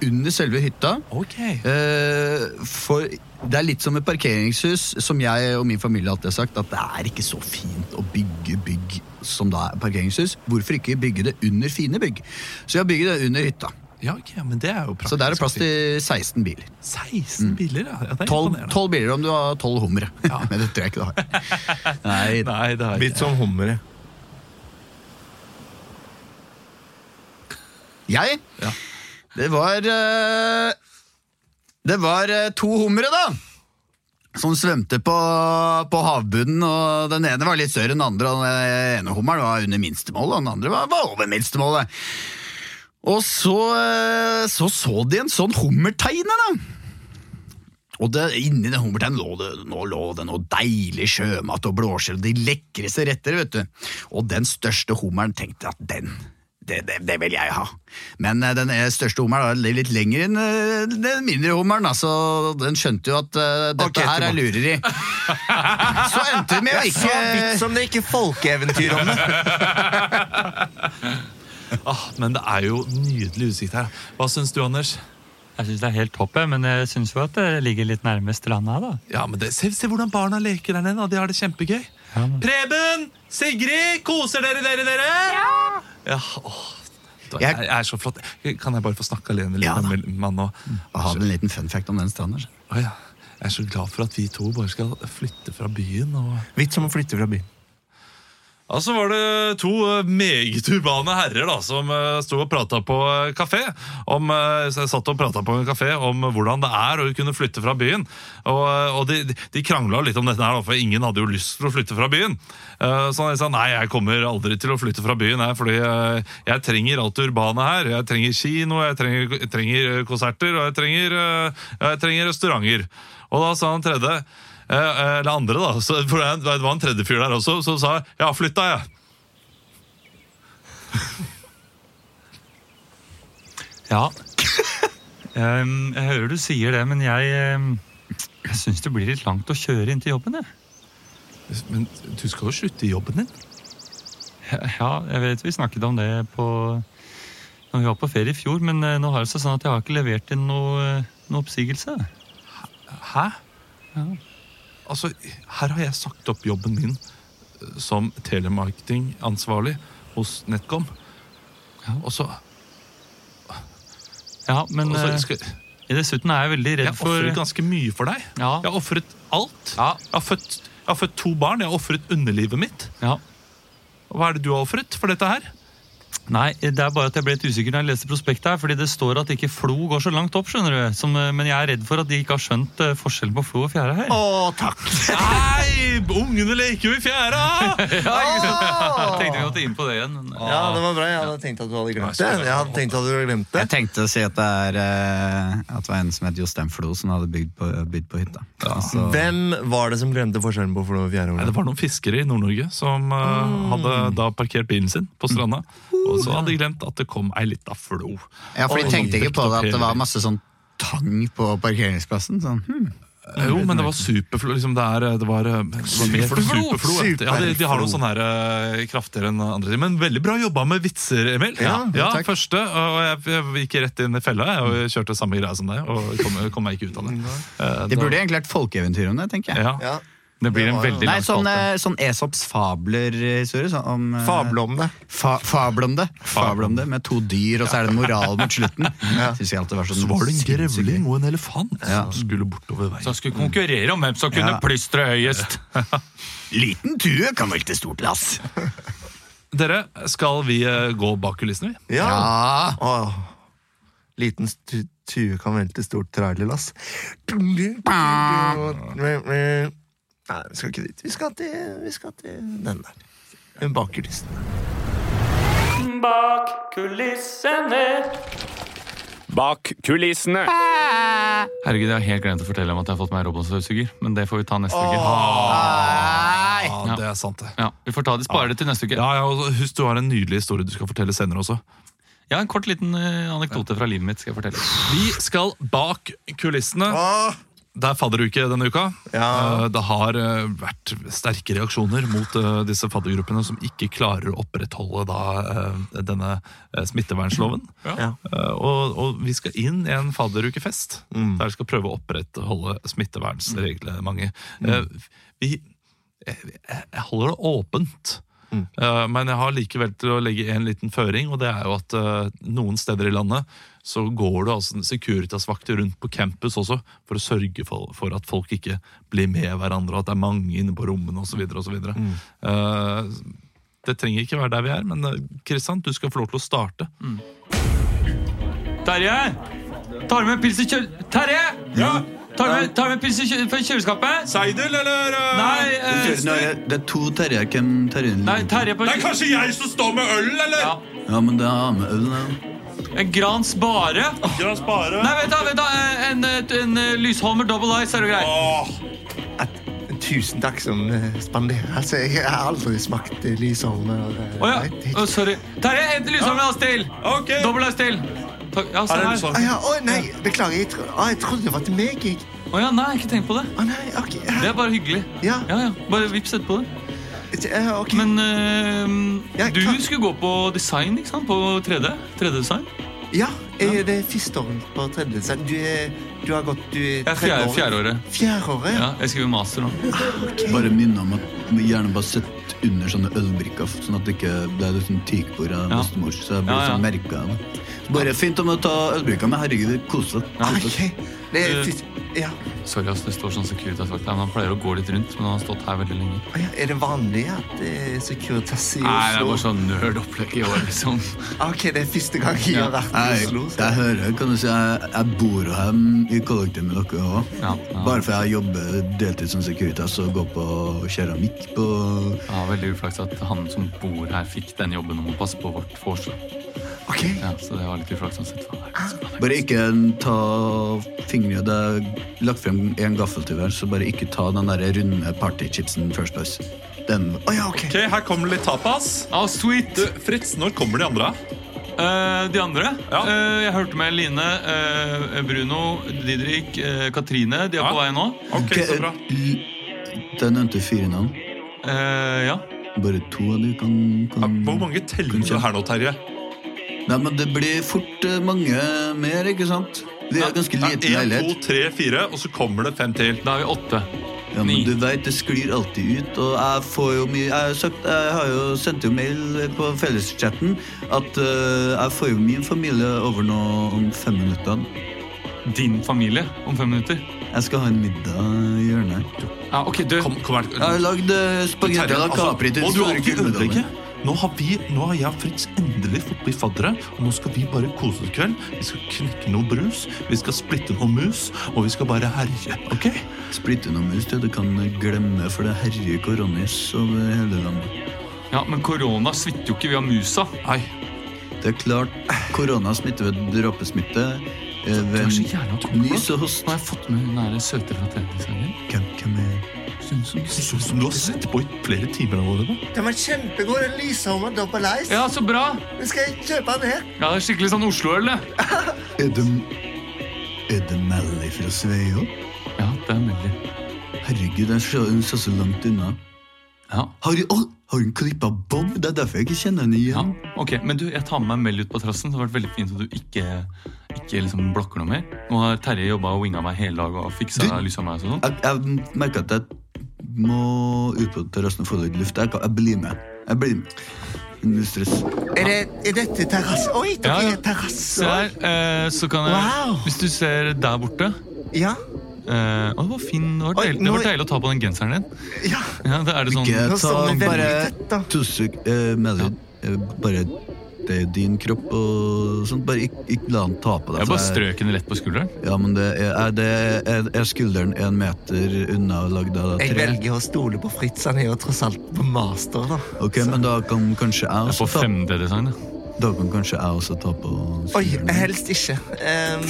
under selve hytta. Ok. Eh, for det er litt som et parkeringshus, som jeg og min familie alltid har sagt, at det er ikke så fint å bygge bygg som da er parkeringshus. Hvorfor ikke bygge det under fine bygg? Så jeg bygger det under hytta. Ja, ok, men det er jo praktisk. Så der er det plass til 16 biler. Mm. 16 biler, ja. ja det er 12, imponerende. 12 biler om du har 12 hummere. Men det tror jeg ikke du har. Nei, Nei, det er Litt som hummere. Jeg? Ja. Det var eh, Det var eh, to hummere, da! Som svømte på, på havbunnen. og Den ene var litt større enn den andre. og Den ene hummeren var under minstemålet, og den andre var, var over minstemålet. Og så, eh, så så de en sånn hummerteine, da! Og det, inni den hummerteinen lå det, nå lå det noe deilig sjømat og blåskjell og de lekreste retter, vet du. Og den største hummeren tenkte at den, det, det, det vil jeg ha. Men eh, den eh, største hummeren var litt lenger enn eh, den mindre hummeren, da, så den skjønte jo at eh, dette Ok, her er lureri. så endte vi med å Så vidt ikke som det ikke er folkeeventyr om det. Ah, men det er jo nydelig utsikt her. Hva syns du, Anders? Jeg syns det er helt topp, jeg, men jeg syns jo at det ligger litt nærme stranda. da. Ja, men det, se, se hvordan barna leker der nede. da. De har det kjempegøy. Preben! Sigrid! Koser dere, dere, dere? Ja! åh, Jeg- da, jeg, jeg er så flott. Kan jeg bare få snakke alene litt Ja, da. Mm. med mannen nå? Jeg har en liten fun fact om den stranda. så. Å, ja. Jeg er så glad for at vi to bare skal flytte fra byen. og... Vidt som å flytte fra byen. Ja, så var det to eh, meget urbane herrer da, som eh, sto og prata på eh, kafé. Om, eh, så jeg satt og prata på en kafé om hvordan det er å kunne flytte fra byen. Og, eh, og de, de krangla litt om dette, her, da, for ingen hadde jo lyst til å flytte fra byen. Eh, Så de sa nei, jeg kommer aldri til å flytte fra byen, jeg, fordi eh, jeg trenger alt det urbane her. Jeg trenger kino, jeg trenger, jeg trenger eh, konserter, og jeg trenger, eh, jeg trenger restauranter. Og da sa han tredje eh, eh, Eller andre, da. Så, for det det var en tredje fyr der også som sa 'jeg har flytta', jeg. Ja. Ehm, jeg hører du sier det, men jeg, ehm, jeg syns det blir litt langt å kjøre inn til jobben. Jeg. Men du skal jo slutte i jobben din. Ja, jeg vet vi snakket om det på når vi var på ferie i fjor, men eh, nå har det seg sånn at jeg har ikke levert inn noe, eh, noe oppsigelse. Hæ? Altså, her har jeg sagt opp jobben min eh, som telemarketingansvarlig hos NetCom. Og så Ja, men og så eh, skal- dessuten er jeg veldig Jeg redd for ofret ganske mye for deg. Ja. Jeg har ofret alt. Jeg, har født, jeg har født to barn. Jeg har ofret underlivet mitt. ja. Og Hva er det du har ofret for dette her? Nei, det er bare at jeg ble litt usikker når jeg leste prospektet her, fordi det står at ikke Flo går så langt opp, skjønner du. Som, eh, men jeg er redd for at de ikke har skjønt eh, forskjellen på Flo og fjæra her. Å, takk! Nei, ungene leker jo i fjæra! Jeg tenkte vi måtte inn på det igjen. men- Ja, det var bra. Jeg hadde tenkt at du hadde glemt det. Jeg hadde tenkt at du hadde glemt det. Jeg tenkte å si at det, er, eh, at det var en som het Jostein Flo, som hadde bygd på, bygd på hytta. Altså- Hvem var det som glemte forskjellen på Flo og Fjære? Nei, det var noen fiskere i Nord-Norge som eh, hadde da parkert bilen sin på stranda. Og så hadde de glemt at det kom ei lita flo. Ja, for de Og- tenkte ikke på det at det var Opphever. masse sånn tang på parkeringsplassen. Sånn. hm. Eh, Jo, men det var superflo. Liksom det, er, eh, det var, eh, det var mer Superflo! superflo. ja. Ja, de, de har noen Superflo. sånne her, eh, kraftigere enn andre. ting. Men veldig bra jobba med vitser, Emil. Ja, takk. første, og jeg, jeg gikk rett inn i fella jeg, og kjørte samme altså. greia som deg. Og kom, kom meg ikke ut av det. Eh, Det da- burde egentlig vært folkeeventyr om det, tenker jeg. ja. Ja, Det blir Det en var jo- veldig Nei, lang sånn, spalte. eh, sånn Esops fabler-historie. Sånn om, eh, Fable om det. Fa fabel om det. Fabel om det, Med to dyr, og så er det en moral mot slutten. Synes jeg alltid var sånn Så var det en sinnssykt gøy. grevling og en elefant Ja. som skulle bortover veien. Så skulle konkurrere om hvem som kunne Ja. plystre høyest. Liten tue kan velte stort lass. Dere, skal vi eh, gå bak kulissene, vi? Ja. Ja. Åh. Liten stu- tue kan velte stort trailerlass. Ah. Nei, vi skal ikke dit. Vi skal til, vi skal til den der. Den bakerlisten. Bak kulissene. Bak kulissene. Herregud, jeg har helt glemt å fortelle om at jeg har fått meg robotstøvsuger, men det får vi ta neste uke. Ja, det er sant, det. Ja, vi får ta det, spare det til neste uke. Ja, ja, og Husk, du har en nydelig historie du skal fortelle senere også. Ja, en kort liten eh, anekdote fra livet mitt skal jeg fortelle. Vi skal bak kulissene. Det er fadderuke denne uka. Ja. Eh, Det har eh, vært sterke reaksjoner mot eh, disse faddergruppene som ikke klarer å opprettholde da, eh, denne eh, smittevernloven. Ja. Eh, Og, og vi skal inn i en fadderukefest Mm. der vi skal prøve å opprettholde smittevernsreglementet. Mm. Eh, Vi, jeg, jeg holder det åpent. Eh, Men jeg har likevel til å legge en liten føring, og det er jo at eh, noen steder i landet så går det altså en Securitas-vakter rundt på campus også for å sørge for, for at folk ikke blir med hverandre, og at det er mange inne på rommene osv. Mm. Eh, det trenger ikke være der vi er, men eh, Kristian, du skal få lov til å starte. Terje! Tar du med pils i kjøl... Terje! Ja? Tar du med, tar du med pils i kjøl fra kjøleskapet? Seidel, eller? Nei, eh, Det er to Terje, hvem Terje? nei Terje på kanskje jeg som står med øl, eller? Ja. Ja, men det er med øl, da. En Grans Bare. Nei, vent da, vent da. eh, En, eh, en eh, Lysholmer Double Ice er det greit. At- Tusen takk som eh, spanderer. Altså, jeg har aldri smakt eh, Lysholme. og, eh, Å ja. nei, det- Å, sorry. Terje, hent Lysholmer Ice til. Double Ice til. Takk. Ja, se her. Ah, ja, å, nei, beklager. Jeg, tro, ah, jeg trodde det var til meg. Jeg. Å ja, nei, ikke tenk på det. Å, nei, ok. Det Ja, er bare hyggelig. ja, Ja, ja. Bare vips etterpå det. ja, ok. Men eh, Ja, du klart. skulle gå på design, ikke sant? På 3D? 3D-design? ja jeg, det er første året på tredje sal. Du, er- du har gått du er Ja, tredje fjerde, året. fjerdeåret. Fjerde året? Ja, jeg skriver master nå. Bare minne om at vi gjerne bare sett under sånne ølbrikker, sånn at det ikke ble litt sånn tykbord av Ja. bestemor. Så jeg blir Ja, ja. sånn merka. Da. Bare fint om å ta ølbrikka, men herregud, det er koselig. Ah, Ok. Det er Du- fyrst- ja. Sorry, ass, det står sånn Securitas-vakt her, men han pleier å gå litt rundt. Men han har stått her veldig lenge. Ah, ja, Er det vanlig at det er Securitas i Oslo? Nei, det er bare sånn nerd-opplegg i år, liksom. Ah, Ok, det er første gang jeg har vært i Jeg, Oslo. så- jeg hører, kan du si, jeg, jeg bor jo her i kollektiv med dere òg. Ja, ja. Bare for jeg jobber deltid som Securitas og går på keramikk på Ja, veldig uflaks at han som bor her, fikk den jobben om å passe på vårt forslag. Ok. Ja, så det var litt uflaks sånn sett. Faen, det er ikke så bra. Bare ikke ta fingre Det er lagt frem en gaffel til hver, så bare ikke ta den der runde partychipsen first place. Den Å ja, ok. Ok, her kommer litt tapas. Ah, sweet! Du, Fritz, når kommer de andre? Eh, de andre? Ja. Eh, jeg hørte med Line, eh, Bruno, Didrik, eh, Katrine. De er Ja. på vei nå. Ok, så bra. eh, Den nevnte fire navn. Eh, ja. Bare to av de kan, Ja, kan... Hvor mange teller du her nå, Terje? Nei, men det blir fort eh, mange mer, ikke sant? Vi er ganske Ja, liten En, to, leilighet. tre, fire, og så kommer det fem til. Da er vi åtte. Ja, men Ni. du vet, det sklir alltid ut, og jeg får jo mye Jeg, har sagt, jeg har jo sendt jo mail på felleschatten at eh, jeg får jo min familie over nå om fem minutter. Din familie om fem minutter. Jeg skal ha en middag i hjørnet. Ja, ok, du. Kom, kom her. Jeg har lagd eh, spagetti à Terje, la altså, Capri til og du har store alltid gullmedaljer. ødelegget. Nå har, vi, nå har jeg og Fritz endelig fått bli faddere, og nå skal vi bare kose oss i kveld. Vi skal knekke noe brus, vi skal splitte noe mus, og vi skal bare herje. ok? Splitte noe mus, du. Du kan glemme, for det herjer koronis over hele landet. Ja, Men korona smitter jo ikke via musa. Nei, Det er klart, korona smitter ved dråpesmitte. eh, Du er Ved så jævla tålmodig. nys og host. Nå har jeg fått med hun der søte fra treningssangen. Hvem, hvem er det ser ut som du har sett på i flere timer allerede. Den var kjempegod, den Lysholmen Double Ice. Ja, så bra! Den Skal jeg kjøpe den her? Ja, det er Skikkelig sånn Oslo-øl, det. Er det Er det Melly fra Sveio? Ja, det er mulig. Herregud, jeg ser- hun ser så langt unna. Ja. Har hun, oh, har hun klippa bob? Det er derfor jeg ikke kjenner henne Ja, igjen. ok, men du, Jeg tar med meg Mel ut på terrassen. Det har vært veldig fint at du ikke, ikke liksom blokker noe mer. Nå har Terje jobba og winga meg hele dag og fiksa Du- lysa meg. og sånn. Jeg, jeg merker at jeg må ut på terrassen og få litt luft. Jeg, kan- jeg blir med. Jeg blir med. Null stress. Er, det, er dette terrasse? Oi, det Ja, ja. er terrasse. Se her, eh, så kan jeg Wow. Hvis du ser der borte Ja, eh, Å, det var fin. Det var, Oi, deilig, det nå- var deilig å ta på den genseren din. ja. Ja, det er det sånn... Ikke Nå står ta vi veldig bare tett, da. to sek... eh, Melly, eh, bare det er din kropp og sånt. Bare ikke, ikke la han ta på deg. Jeg for altså. bare strøk den rett på skulderen. Ja, men det er, er, det, er, er skulderen en meter unna lagd av Jeg tre? velger å stole på Fritz. Han er jo tross alt på master, da. Ok, men da kan kanskje jeg Jeg også får ta, 5D-design. da kan kanskje jeg også ta på Oi, skulderen. helst ikke. Um,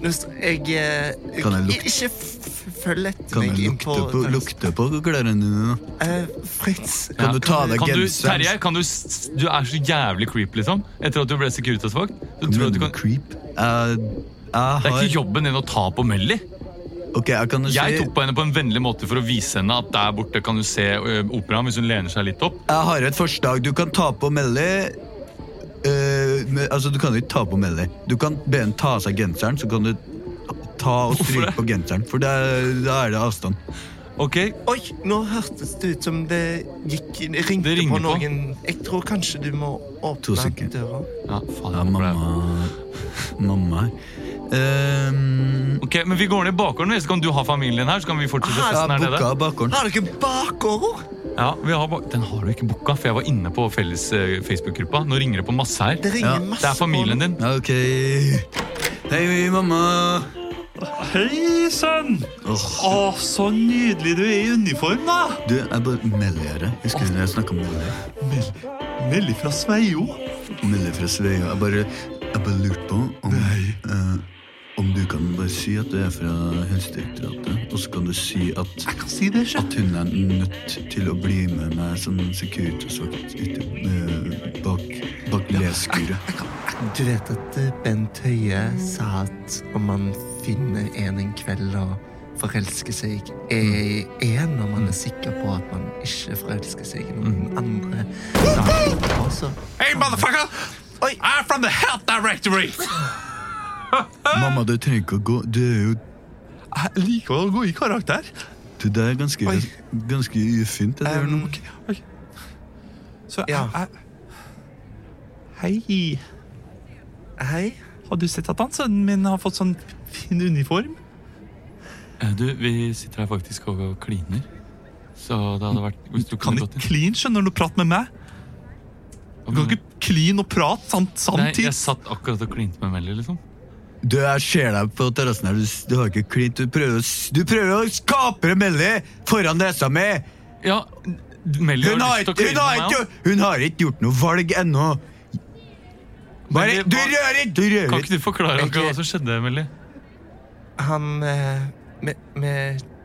nå st- jeg, eh, Kan jeg lukte- Ikke f- følg etter Kan meg jeg inn på lukte på, lukte på klærne dine? da? Eh, Fritz, Kan du ta av deg Kan du, genseren? Terje, kan du, s- du er så jævlig creep, liksom. Etter at du ble Securitas-vakt. Du tror at Mener du du kan... Creep? Jeg, jeg Det er har ikke jobben din å ta på Melly. Ok, jeg kan jo si Jeg tok på henne på en vennlig måte for å vise henne at der borte kan du se ø, operaen hvis hun lener seg litt opp. Jeg har et forslag. Du kan ta på Melly. Eh, men, altså, du kan jo ikke ta på Melly. Du kan be henne ta av seg genseren, så kan du ta og stryke på genseren. For da da er det avstand. Ok, Oi, nå hørtes det ut som det gikk det ringte Det ringer på på. noen. Jeg tror kanskje du må To åpne sekunder. døra. Ja, faen, Ja, jeg håper mamma det. Mamma her. Ehm, Ok, men Vi går ned i bakgården, vi, så kan du ha familien her. så kan vi fortsette jeg festen har her booka nede. bakgården. Har dere bakgårder? Ja, vi har ba Den har du ikke booka, for jeg var inne på felles ø, Facebook-gruppa. Nå ringer det på masse her. Det ringer Ja, masse Det er familien din. Ja, Ok. Hei, mamma. Hei, sønn! Å, så nydelig du er i uniform, da! Du, jeg bare melder deg. Husker du når jeg snakka om Melly? Veldig fra Sveio. Melde fra Sveio. Jeg bare, jeg bare lurte på om, eh, om du kan bare si at du er fra Helsedirektoratet, og så kan du si at, Si det, sjef. at hun er nødt til å bli med meg som securitasvakt ute eh, bak, bak lesskuret. Du vet at eh, Bent Høie sa at om man finner en en kveld og forelsker seg i en, og man er sikker på at man ikke forelsker seg i noen andre dagen etterpå, så Hey, motherfucker! Oi. I'm from the Health Directory! Ah! Mamma, du trenger ikke å gå. Du er jo Jeg liker å gå i karakter. du, det er ganske, Oi. ganske ufint. Det der Um, nok. Så jeg, Ja. jeg Hei. Hei. Har du sett at han sønnen min har fått sånn fin uniform? Eh, Du, vi sitter her faktisk og kliner. Så det hadde vært hvis du Kan kunne ikke gått inn. kline, skjønner du, prate med meg. Du kan ikke kline og prate samt Mm. Nei, samtidig. jeg satt akkurat og klinte med Melly, liksom. Du, jeg ser deg på terrassen her. Du, du har ikke klint. Du prøver å, s- du prøver å kapre Melly foran nesa mi! Ja, Melly Hun har har, lyst ikke, til å hun, kline har med meg. ikke, også. hun har ikke gjort noe valg ennå. Bare, Men det du var- rører ikke! Du rører Kan ikke ikke. du forklare akkurat hva som skjedde, Melly? Han eh, Vi vi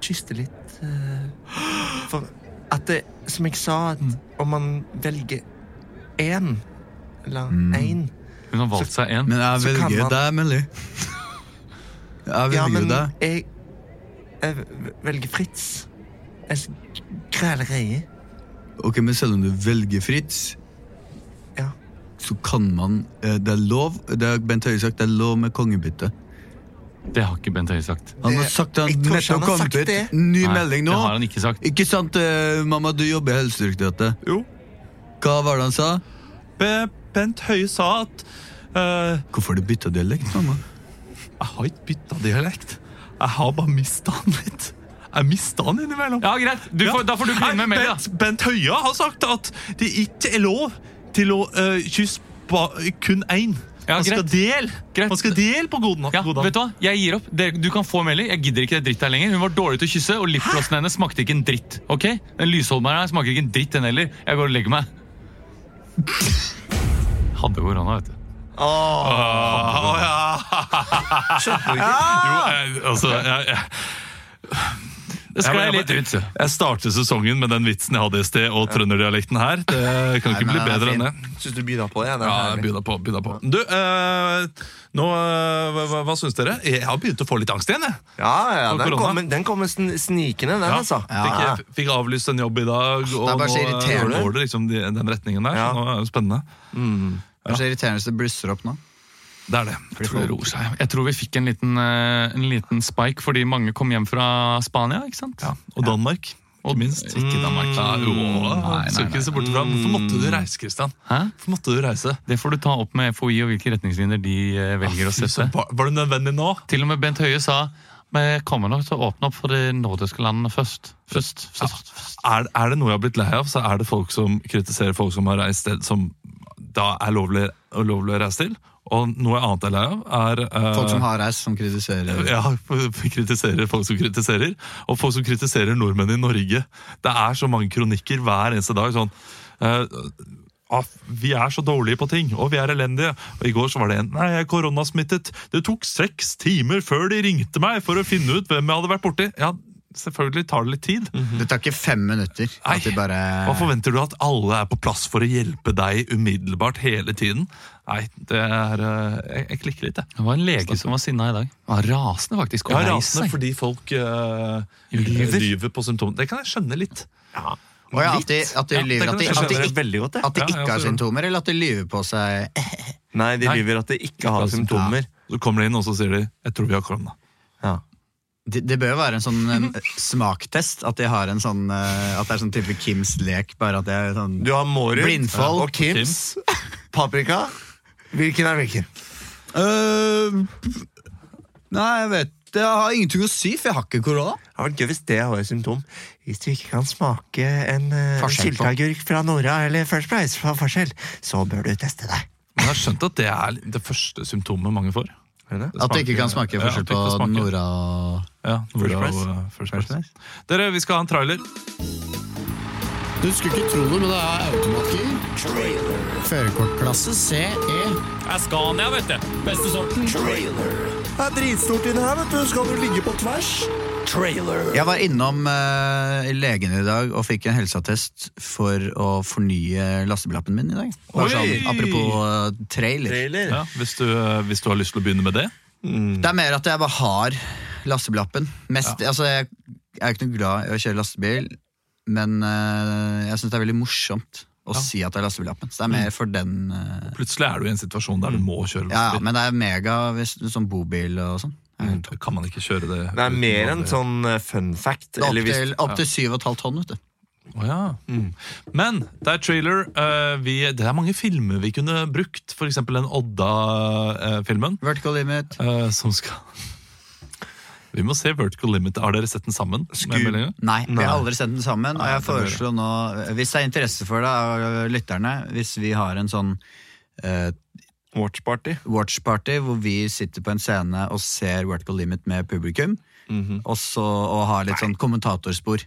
kysste litt. Eh, for at det, som jeg sa, Mm. at om man velger én, eller Mm. én Hun har valgt seg en. Men jeg Så kan velger man- deg, Melly. Jeg velger Ja, men deg. jeg, jeg velger Fritz. Jeg s- græler reie. Ok, Men selv om du velger Fritz, Ja. så kan man eh, Det er lov det har Bent Høie sagt, det er lov med kongebytte. Det har ikke Bent Høie sagt. Han har Det- sagt det, jeg han tror ikke han nettopp har kommet sagt ut. det. Ny Nei, melding nå. Det har han ikke sagt. Ikke sant, eh, mamma? Du jobber i Helsedirektoratet. Jo. Hva var det han sa? Be- Bent Høie sa at eh, Hvorfor har du bytta dialekt, mamma? Jeg har ikke bytta dialekt. Jeg har bare mista han litt. Jeg mista han innimellom. Ja, greit. Du får, da får du kline med Nei, Melly, da. Bent, Bent Høie har sagt at det ikke er lov til å eh, kysse ba, kun én. Ja, Man skal greit. dele Greit. Man skal dele på godene. Ja, vet Du hva? Jeg gir opp. Dere- Du kan få Melly. Jeg gidder ikke det dritt her lenger. Hun var dårlig til å kysse, og lipglossen hennes smakte ikke en dritt. ok? Den lysholmeren her smaker ikke en dritt, den heller. Jeg går og legger meg. Hadde korona, vet du. Jo, jeg, altså, jeg, jeg, Det sklei Jeg må- litt ut. så. jeg starter sesongen med den vitsen jeg hadde i sted, og trønderdialekten her. Det kan ikke men bli den er bedre enn det. fin. Syns eh, du byr på det? Ja, det er Ja, jeg herlig. byr deg på. Byr deg på. Du, eh, nå, eh, hva, hva, hva syns dere? Jeg har begynt å få litt angst igjen. jeg. ja, ja For den korona. kommer, den kommer sn snikende, den, altså. Fikk, jeg- fikk avlyst en jobb i dag, og bare så nå eh, irriterende. går det liksom de, den retningen der. Ja. Så nå er det spennende. Det er så irriterende hvis det blusser opp nå. Det er det. Jeg tror det roer seg. Jeg tror vi fikk en liten, eh, en liten spike fordi mange kom hjem fra Spania. ikke sant? Ja. Og Danmark, ikke minst. Ikke Danmark. Ja, jo, Nei, skal nei, ikke nei. se bort fra. Hvorfor måtte du reise, Christian? Hæ? Hvorfor måtte du reise? Det får du ta opp med FHI og hvilke retningslinjer de eh, velger å Fy sette. søren, Var, var det nødvendig nå? Til og med Bent Høie sa vi kommer nok til å åpne opp for de nordiske landene først. Først, først, først. er, er det noe jeg har blitt lei av, så er det folk som kritiserer folk som har reist sted som da er lovlig, lovlig å reise til. Og noe annet jeg er lei av, er eh, Folk som har reist, som kritiserer. ja, kritiserer folk som kritiserer, og folk som kritiserer nordmenn i Norge. Det er så mange kronikker hver eneste dag. sånn, eh, ah, Vi er så dårlige på ting, og vi er elendige. Og I går så var det en Nei, jeg er koronasmittet. Det tok seks timer før de ringte meg for å finne ut hvem jeg hadde vært borti. Ja, selvfølgelig tar det litt tid. Det tar ikke fem minutter. Nei. At de bare Hva forventer du at alle er på plass for å hjelpe deg umiddelbart hele tiden? Nei, det er eh, Jeg, jeg klikker litt, jeg. Det var en lege som var sinna i dag. Han var rasende, faktisk. Jeg og er lei rasende seg. fordi folk eh, Lyver. lyver på symptomer. Det kan jeg skjønne litt. Å ja, at de, at de Ja, det lyver. kan At de, jeg at de, skjønne ikke, veldig godt, at de Ja, jeg ikke har også. symptomer, eller at de lyver på seg Nei, de Nei. lyver at de ikke har altså, symptomer. Så kommer de inn, og så sier de 'jeg tror vi har korona'. Ja. Det, det bør jo være en sånn eh, smaktest. At de har en sånn eh, At det er sånn type Kims lek, bare at det er sånn Du har Mårud Blindfold. og Kims. Paprika. Hvilken er hvilken? Eh, Nei, jeg vet Jeg har ingenting å si, for jeg har ikke korona. Det hadde vært gøy hvis det var et symptom. Hvis du ikke kan smake en, eh, en Forskjell på. sylteagurk fra Nora eller First Price fra Forskjell, så bør du teste deg. Men jeg har skjønt at det er det første symptomet mange får. Er det det? At det ikke kan smake Ja, forskjell at det på ikke smaker. Nora og Ja, Nora Price. og, eh, First Price. Dere, vi skal ha en trailer. Du skulle ikke tro det, men det er automatgir. Førerkortklasse E. CE. Askania, vet du. Beste sorten. Det er dritstort inni her, vet du. Skal du ligge på tvers? Jeg var innom eh, legen i dag og fikk en helseattest for å fornye lastebillappen min i dag. Bare Sånn, apropos eh, trailer. Trailer. Ja, hvis, du, eh, hvis du har lyst til å begynne med det. Det er mer at jeg bare har lastebillappen. Mest, altså, jeg er jo ikke noe glad i å kjøre lastebil, men eh, jeg syns det er veldig morsomt å si at det er lastebillappen. Så det er mer for den eh, Plutselig er du i en situasjon der du må kjøre Ja, ja, lastebil. men det er mega hvis du sånn bobil og sånn. Mm, Kan man ikke kjøre det Det er uten mer en vanlig- sånn eh, fun fact. Det er Eller Opp hvis til, opp til 7,5 tonn, vet du. Å ja. Mm. Men det er trailer. eh, vi, det er mange filmer vi kunne brukt. F.eks. den Odda-filmen. Vertical limit. eh, som skal Vi må se Vertical Limit. Har dere sett den sammen? med Sku- meldinga? Nei, vi Nei. har aldri sendt den sammen. Og jeg foreslår nå, hvis det er interesse for det av lytterne, hvis vi har en sånn eh, Watch Party. watch party hvor vi sitter på en scene og ser Vertical Limit med publikum, Mhm. og, så, og har litt sånn kommentatorspor.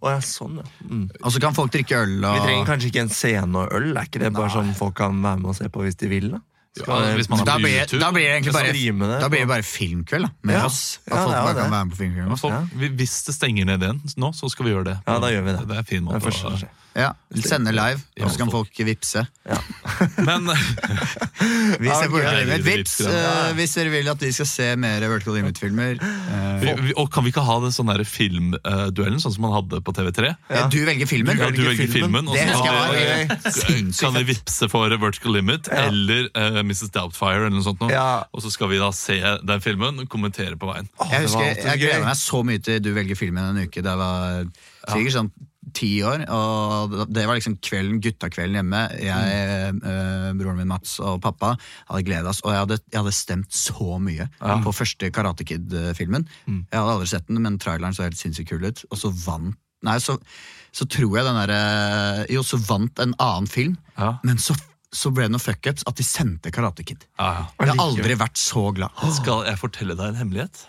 Å ja, sånn, ja. Mm. Ah. Og så kan folk drikke øl og Vi trenger kanskje ikke en scene og øl. Er ikke det bare sånn folk kan være med og se på hvis de vil? da? Skal Ja, jeg- Altså, hvis man er da på blir, YouTube. da blir det egentlig Streame bare, det. da blir det bare filmkveld da, med Ja. oss. At Ja, folk det er bare det. kan være med på filmkveld med oss. Så, vi- Hvis det stenger ned igjen nå, så skal vi gjøre det. Ja, da gjør vi det. Det er en fin Det måte er første å skje. Ja, Sende live, Ja, og så kan folk vippse. Men Vi ser på ok. Vertical Limit. Vips! Ja. eh, hvis dere vil at de skal se mer Vertical Limit-filmer. eh, vi, vi, og kan vi ikke ha den sånn der filmduellen, sånn som man hadde på TV3? eh, Du velger filmen. Du, du velger filmen, og Det så husker kan jeg vi- var kan sinnssykt vi vippse for Vertical Limit eller eh, Mrs. Doubtfire, eller noe sånt noe. Ja. og så skal vi da se den filmen og kommentere på veien. Jeg Ah, det var husker, alltid jeg gøy. gleder meg så mye til du velger filmen en uke. Da jeg var sikkert sånn ti år, og det var liksom kvelden, guttakvelden hjemme. Jeg, Mm. eh, broren min Mats og pappa hadde gledet oss, og jeg hadde, jeg hadde stemt så mye på første Karate Kid-filmen. Mm. Jeg hadde aldri sett den, men traileren så helt sinnssykt kul ut, og så vant Nei, så, så tror jeg den derre Jo, så vant en annen film, Ja. men så, så ble det noen fuckups at de sendte Karate Kid. Ja, ja. Jeg har aldri vært så glad. Skal jeg fortelle deg en hemmelighet?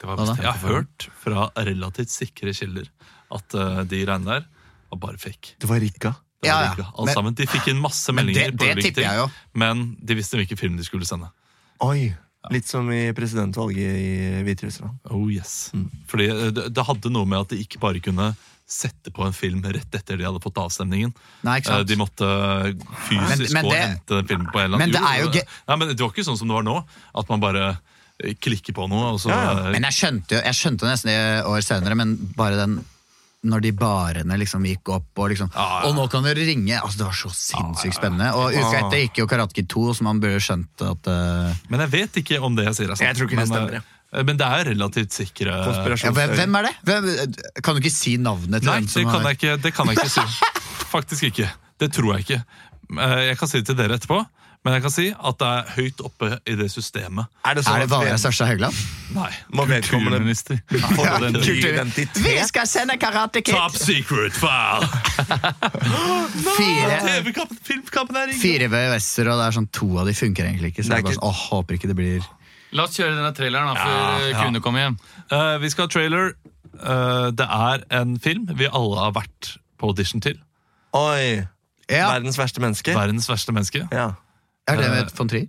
Det var Hva da? bestemt. Jeg har hørt fra relativt sikre kilder at eh, de greiene der var bare fake. Det var rigga. Det Ja, var ja. rigga, alt Altså, Men- sammen. De fikk inn masse Men meldinger, det- på det ulike tipper ting, jeg jo. men de visste hvilken film de skulle sende. Oi! Litt som i presidentvalget i Hviterussland. Oh yes. Fordi eh, det, det hadde noe med at de ikke bare kunne sette på en film rett etter de hadde fått avstemningen. Nei, ikke sant? Eh, De måtte Men- fysisk men gå og det- hente den filmen på en eller Men annen det er jo det, Nei, men det var ikke sånn som det var nå, at man bare eh, klikker på noe, og så eh, Men jeg skjønte jo jeg skjønte nesten det år senere, men bare den når de barene liksom gikk opp og liksom Ja, ja. Og nå kan dere ringe! Altså Det var så sinnssykt spennende. Og uka etter gikk jo Karate Kid 2, så man burde skjønt at eh, Men jeg vet ikke om det jeg sier er sant. Jeg tror ikke men, det stemmer, ja. eh, Men det er relativt sikre ja, hvem, hvem er det? Hvem, kan du ikke si navnet til Nei, den det som kan, har jeg ikke, det kan jeg ikke si. Faktisk ikke. Det tror jeg ikke. Eh, Jeg kan si det til dere etterpå, men jeg kan si at det er høyt oppe i det systemet. Er det sånn Er det Valgerd at Svarstad Haugland? Nei. må vedkommende Kulturminister. få den kultur- nye identitet? Vi skal sende Karate Top secret file! Fire, TV-kampen, filmkampen er ingen fire VHS-er, og det er sånn to av de funker egentlig ikke. Så Det er jeg bare sånn, åh, håper ikke det blir La oss kjøre denne traileren da, før Ja, ja, ja. kuene kommer hjem. Eh, Vi skal ha trailer. Eh, Det er en film vi alle har vært på audition til. Oi! Ja, Verdens verste menneske? Verdens verste menneske. Ja. Er det med von Trier?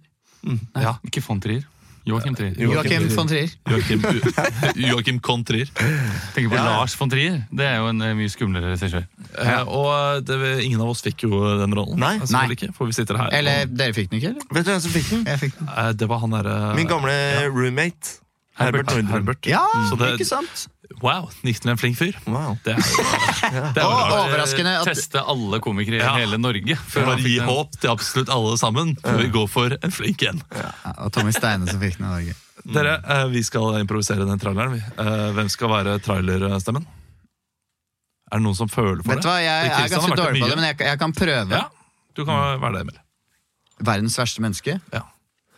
Ikke von Trier. Joakim Trier. Joakim von Trier. Joakim, Joakim Kontrier. Tenker på Lars von Trier. Det er jo en eh, mye skumlere regissør. Eh, og det, ingen av oss fikk jo den rollen. Nei. Altså, Nei. vel Ikke, for vi sitter her. Eller dere fikk den ikke, eller? Vet du hvem som fikk den? Jeg fikk den. Eh, det var han derre Min gamle roommate. Herbert Nordrum. Herbert. Ja, Så det- ikke sant? Wow, gikk til en flink fyr. Wow. Det er jo Og Bare overraskende at Eh, Teste alle komikere i Ja. hele Norge. før for å han gi fikk den. håp til absolutt alle sammen. For vi går for en flink en. Ja, Og Tommy Steine som fikk den. det var gøy. Dere, eh, vi skal improvisere den traileren. vi. Eh, Hvem skal være trailerstemmen? Er det noen som føler for Vet du hva, jeg Kristian er har ganske vært dårlig på mye. det, men jeg, jeg kan prøve. Ja, du kan være det, Emil. Verdens verste menneske. Mm. Ja.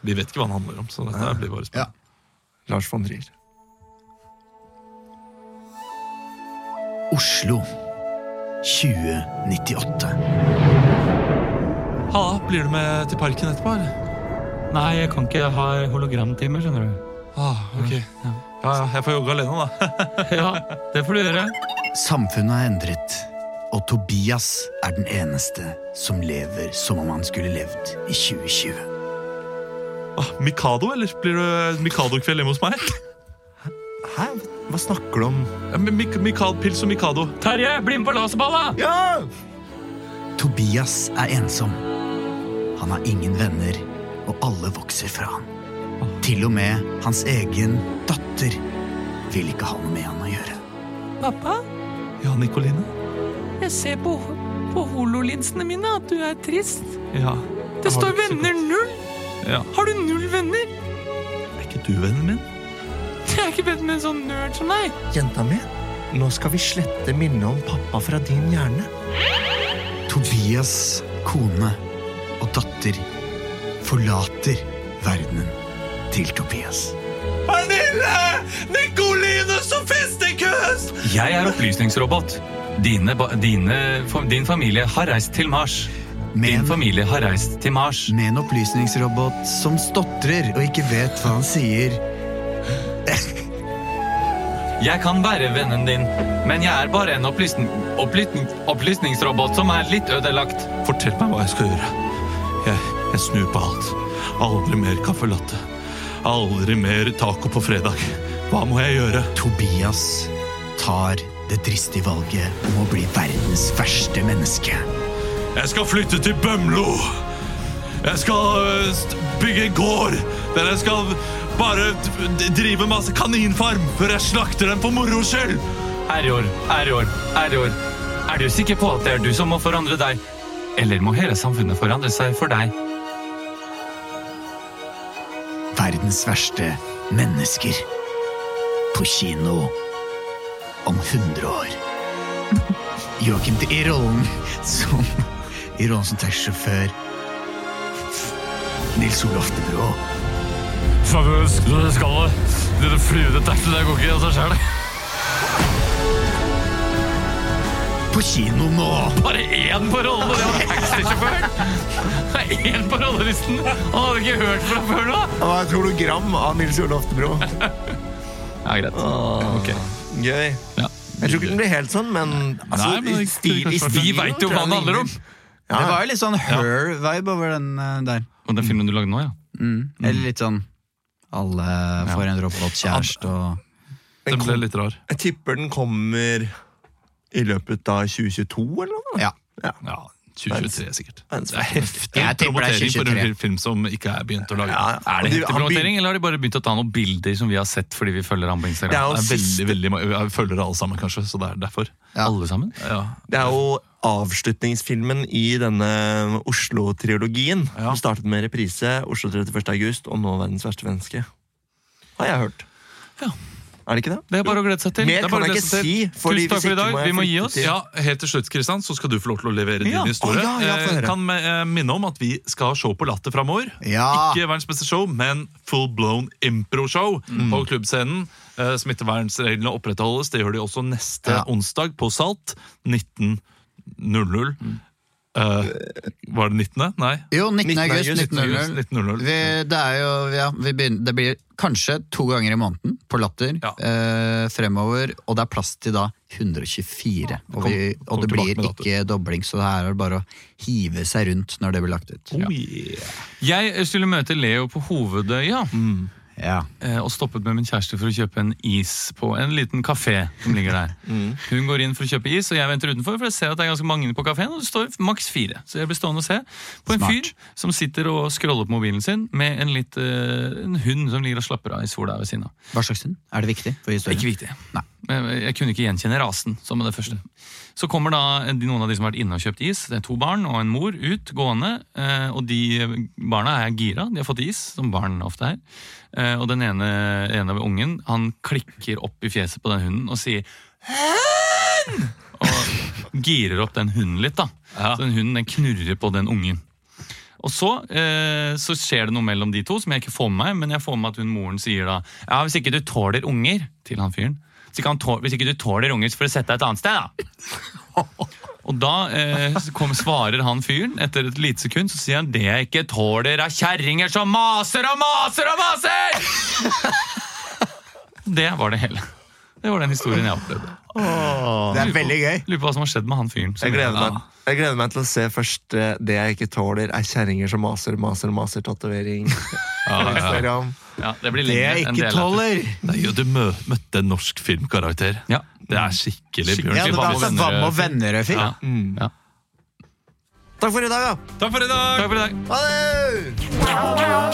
Vi vet ikke hva den handler om, så dette blir bare spennende. Lars von Trier. Oslo 2098. Halla, blir du med til parken etterpå, eller? Nei, jeg kan ikke ha hologramtimer, skjønner du. Ah, ok. Ja, ja, jeg får jogge alene, da. Ja, det får du gjøre. Samfunnet er endret, og Tobias er den eneste som lever som om han skulle levd i 2020. Ah, Mikado, eller? Blir du Mikado-kveld hjemme hos meg? Hæ? Hva snakker du om? Ja, men Mik Mikado, Pils og Mikado. Terje, bli med på laserball, da! Ja! Tobias er ensom. Han har ingen venner, og alle vokser fra han. Til og med hans egen datter vil ikke ha noe med han å gjøre. Pappa, Ja, Nikoline. jeg ser på, på hololinsene mine at du er trist. Ja. Det har står det ikke så venner null. Ja. Har du null venner? Er ikke du vennen min? Jeg er ikke venn med en sånn nerd som deg. Jenta mi, nå skal vi slette minnet om pappa fra din hjerne. Tobias kone og datter forlater verdenen til Tobias. Pernille! Nikoline Sofistikøs! Jeg er opplysningsrobot. Dine, ba- dine, fa- din familie har reist til Mars. Din Men familie har reist til Mars. med en opplysningsrobot som stotrer og ikke vet hva han sier. Jeg kan være vennen din, men jeg er bare en opplysning, opplysning, opplysningsrobot som er litt ødelagt. Fortell meg hva jeg skal gjøre. Jeg, jeg snur på alt. Aldri mer caffè latte. Aldri mer taco på fredag. Hva må jeg gjøre? Tobias tar det dristige valget om å bli verdens verste menneske. Jeg skal flytte til Bømlo. Jeg skal øh, st- bygge en gård der jeg skal bare d- drive masse kaninfarm før jeg slakter dem for moro skyld. Error, error, error. Er du sikker på at det er du som må forandre deg? Eller må hele samfunnet forandre seg for deg? Verdens verste mennesker. På kino om 100 år. Joakim Trier i rollen som i rollen som taxisjåfør. Nils Olof de Brå. Skallet, denne fluedetekten, det går ikke Altså, av seg sjøl. På kino nå! Bare én på rollen, og det var taxisjåføren! Det er Én på rollelisten! Han hadde ikke hørt fra før nå! Det var et hologram av Nils Ole Oftebro. Ja, greit. Gøy. Ja. Jeg tror ikke den blir helt sånn, men, altså, Nei, men i det- stil, i vi stilen Vi veit jo tror jeg hva det handler om! Ja. Det var jo litt sånn her-vibe over den eh, der. Og den filmen du lagde nå, ja. Mm. Eller litt sånn alle får en robot kjæreste og Den Den ble kom, litt rar. jeg tipper den kommer i løpet av 2022 eller noe. Ja. Ja, 2023 sikkert. Verdens Det er heftig Jeg tipper det er promotering for 2023. en film som ikke er begynt å lage. Ja, ja. Er det heftig Og de- han begyn- promotering, eller har de bare begynt å ta noen bilder som vi har sett fordi vi følger ham på Det er Instagram? jo, Det er siste, veldig, veldig mange jeg følger alle sammen, kanskje, så det er derfor. ja. Alle sammen? Ja. det er jo avslutningsfilmen i denne Oslo-triologien. Som startet med reprise Oslo 31. august og nå Verdens verste menneske. Har jeg hørt. Ja. Er det ikke det? Det er bare å glede seg til. Mer Det er kan bare å jeg glede ikke seg til. si. fordi Tusen takk hvis for i ikke dag. må jeg Vi må gi flytte oss. til- Ja, helt til slutt, Kristian, så skal du få lov til å levere Ja. din historie. Å, ja, ja, få Eh, høre. kan me- eh, minne om at vi skal ha show på Latter framover. Ja. Ikke verdens beste show, men full blown impro-show Mm. på klubbscenen. Eh, Smittevernreglene opprettholdes. Det gjør de også neste Ja. onsdag på Salt. 19.00. Mm. Eh, var det 19.? Nei. Jo, 19. 19. august august, 1900. 19.00. Vi, det er jo, ja, vi begynner, det blir kanskje to ganger i måneden på Latter Ja. eh, fremover, og det er plass til da 124. Og, vi, kom og det tilbake blir med dato. ikke dobling, så det her er bare å hive seg rundt når det blir lagt ut. eh, Oh, yeah. Jeg skulle møte Leo på Hovedøya. eh, og stoppet med min kjæreste for å kjøpe en is på en liten kafé som ligger der. Hun går inn for å kjøpe is, og jeg venter utenfor, for jeg ser at det er ganske mange inne på kafeen, og det står maks fire. Så jeg blir stående og se på en fyr som sitter og scroller på mobilen sin med en, litt, eh, en hund som ligger og slapper av i sola ved siden av. Hva slags hund? Er det viktig? for historien? Ikke viktig. Men Jeg, jeg kunne ikke gjenkjenne rasen. som med det første. Så kommer da de- noen av de som har vært inne og kjøpt is. Det er to barn og en mor ut gående. eh, Og de barna er gira. De har fått is, som barn ofte er. Eh, Og den ene, ene av ungen han klikker opp i fjeset på den hunden og sier «Hen!» Og girer opp den hunden litt. da. Så den hunden den knurrer på den ungen. Og så, eh, så skjer det noe mellom de to som jeg ikke får med meg, men jeg får med meg at hun moren sier da Ja, hvis ikke du tåler unger til han fyren hvis ikke, han tå- hvis ikke du tåler unger, så får du sette deg et annet sted, da. Og da eh, så kom, svarer han fyren etter et lite sekund, så sier han det jeg ikke tåler er kjerringer som maser og maser og maser! Det var det hele. Det var den historien jeg opplevde. Åh. gøy. Lurer på hva som har skjedd med han fyren. som Jeg gleder, gjør det. meg, jeg gleder meg til å se først eh, det jeg ikke tåler, er kjerringer som maser, maser, maser, tatovering. ja, ja. Instagram. Ja, det blir Det lengre jeg enn ikke det jeg lærte. tåler. Det er jo du mø møtte en norsk filmkarakter. Det er skikkelig Skikkelig. Bjørn Ja, det var altså Vam og Vennerød-film. Ja. Ja. Takk for i dag, da. Takk for i dag! Takk for i dag. Ha det!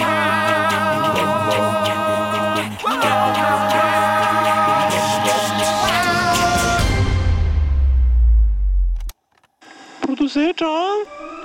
Produsert av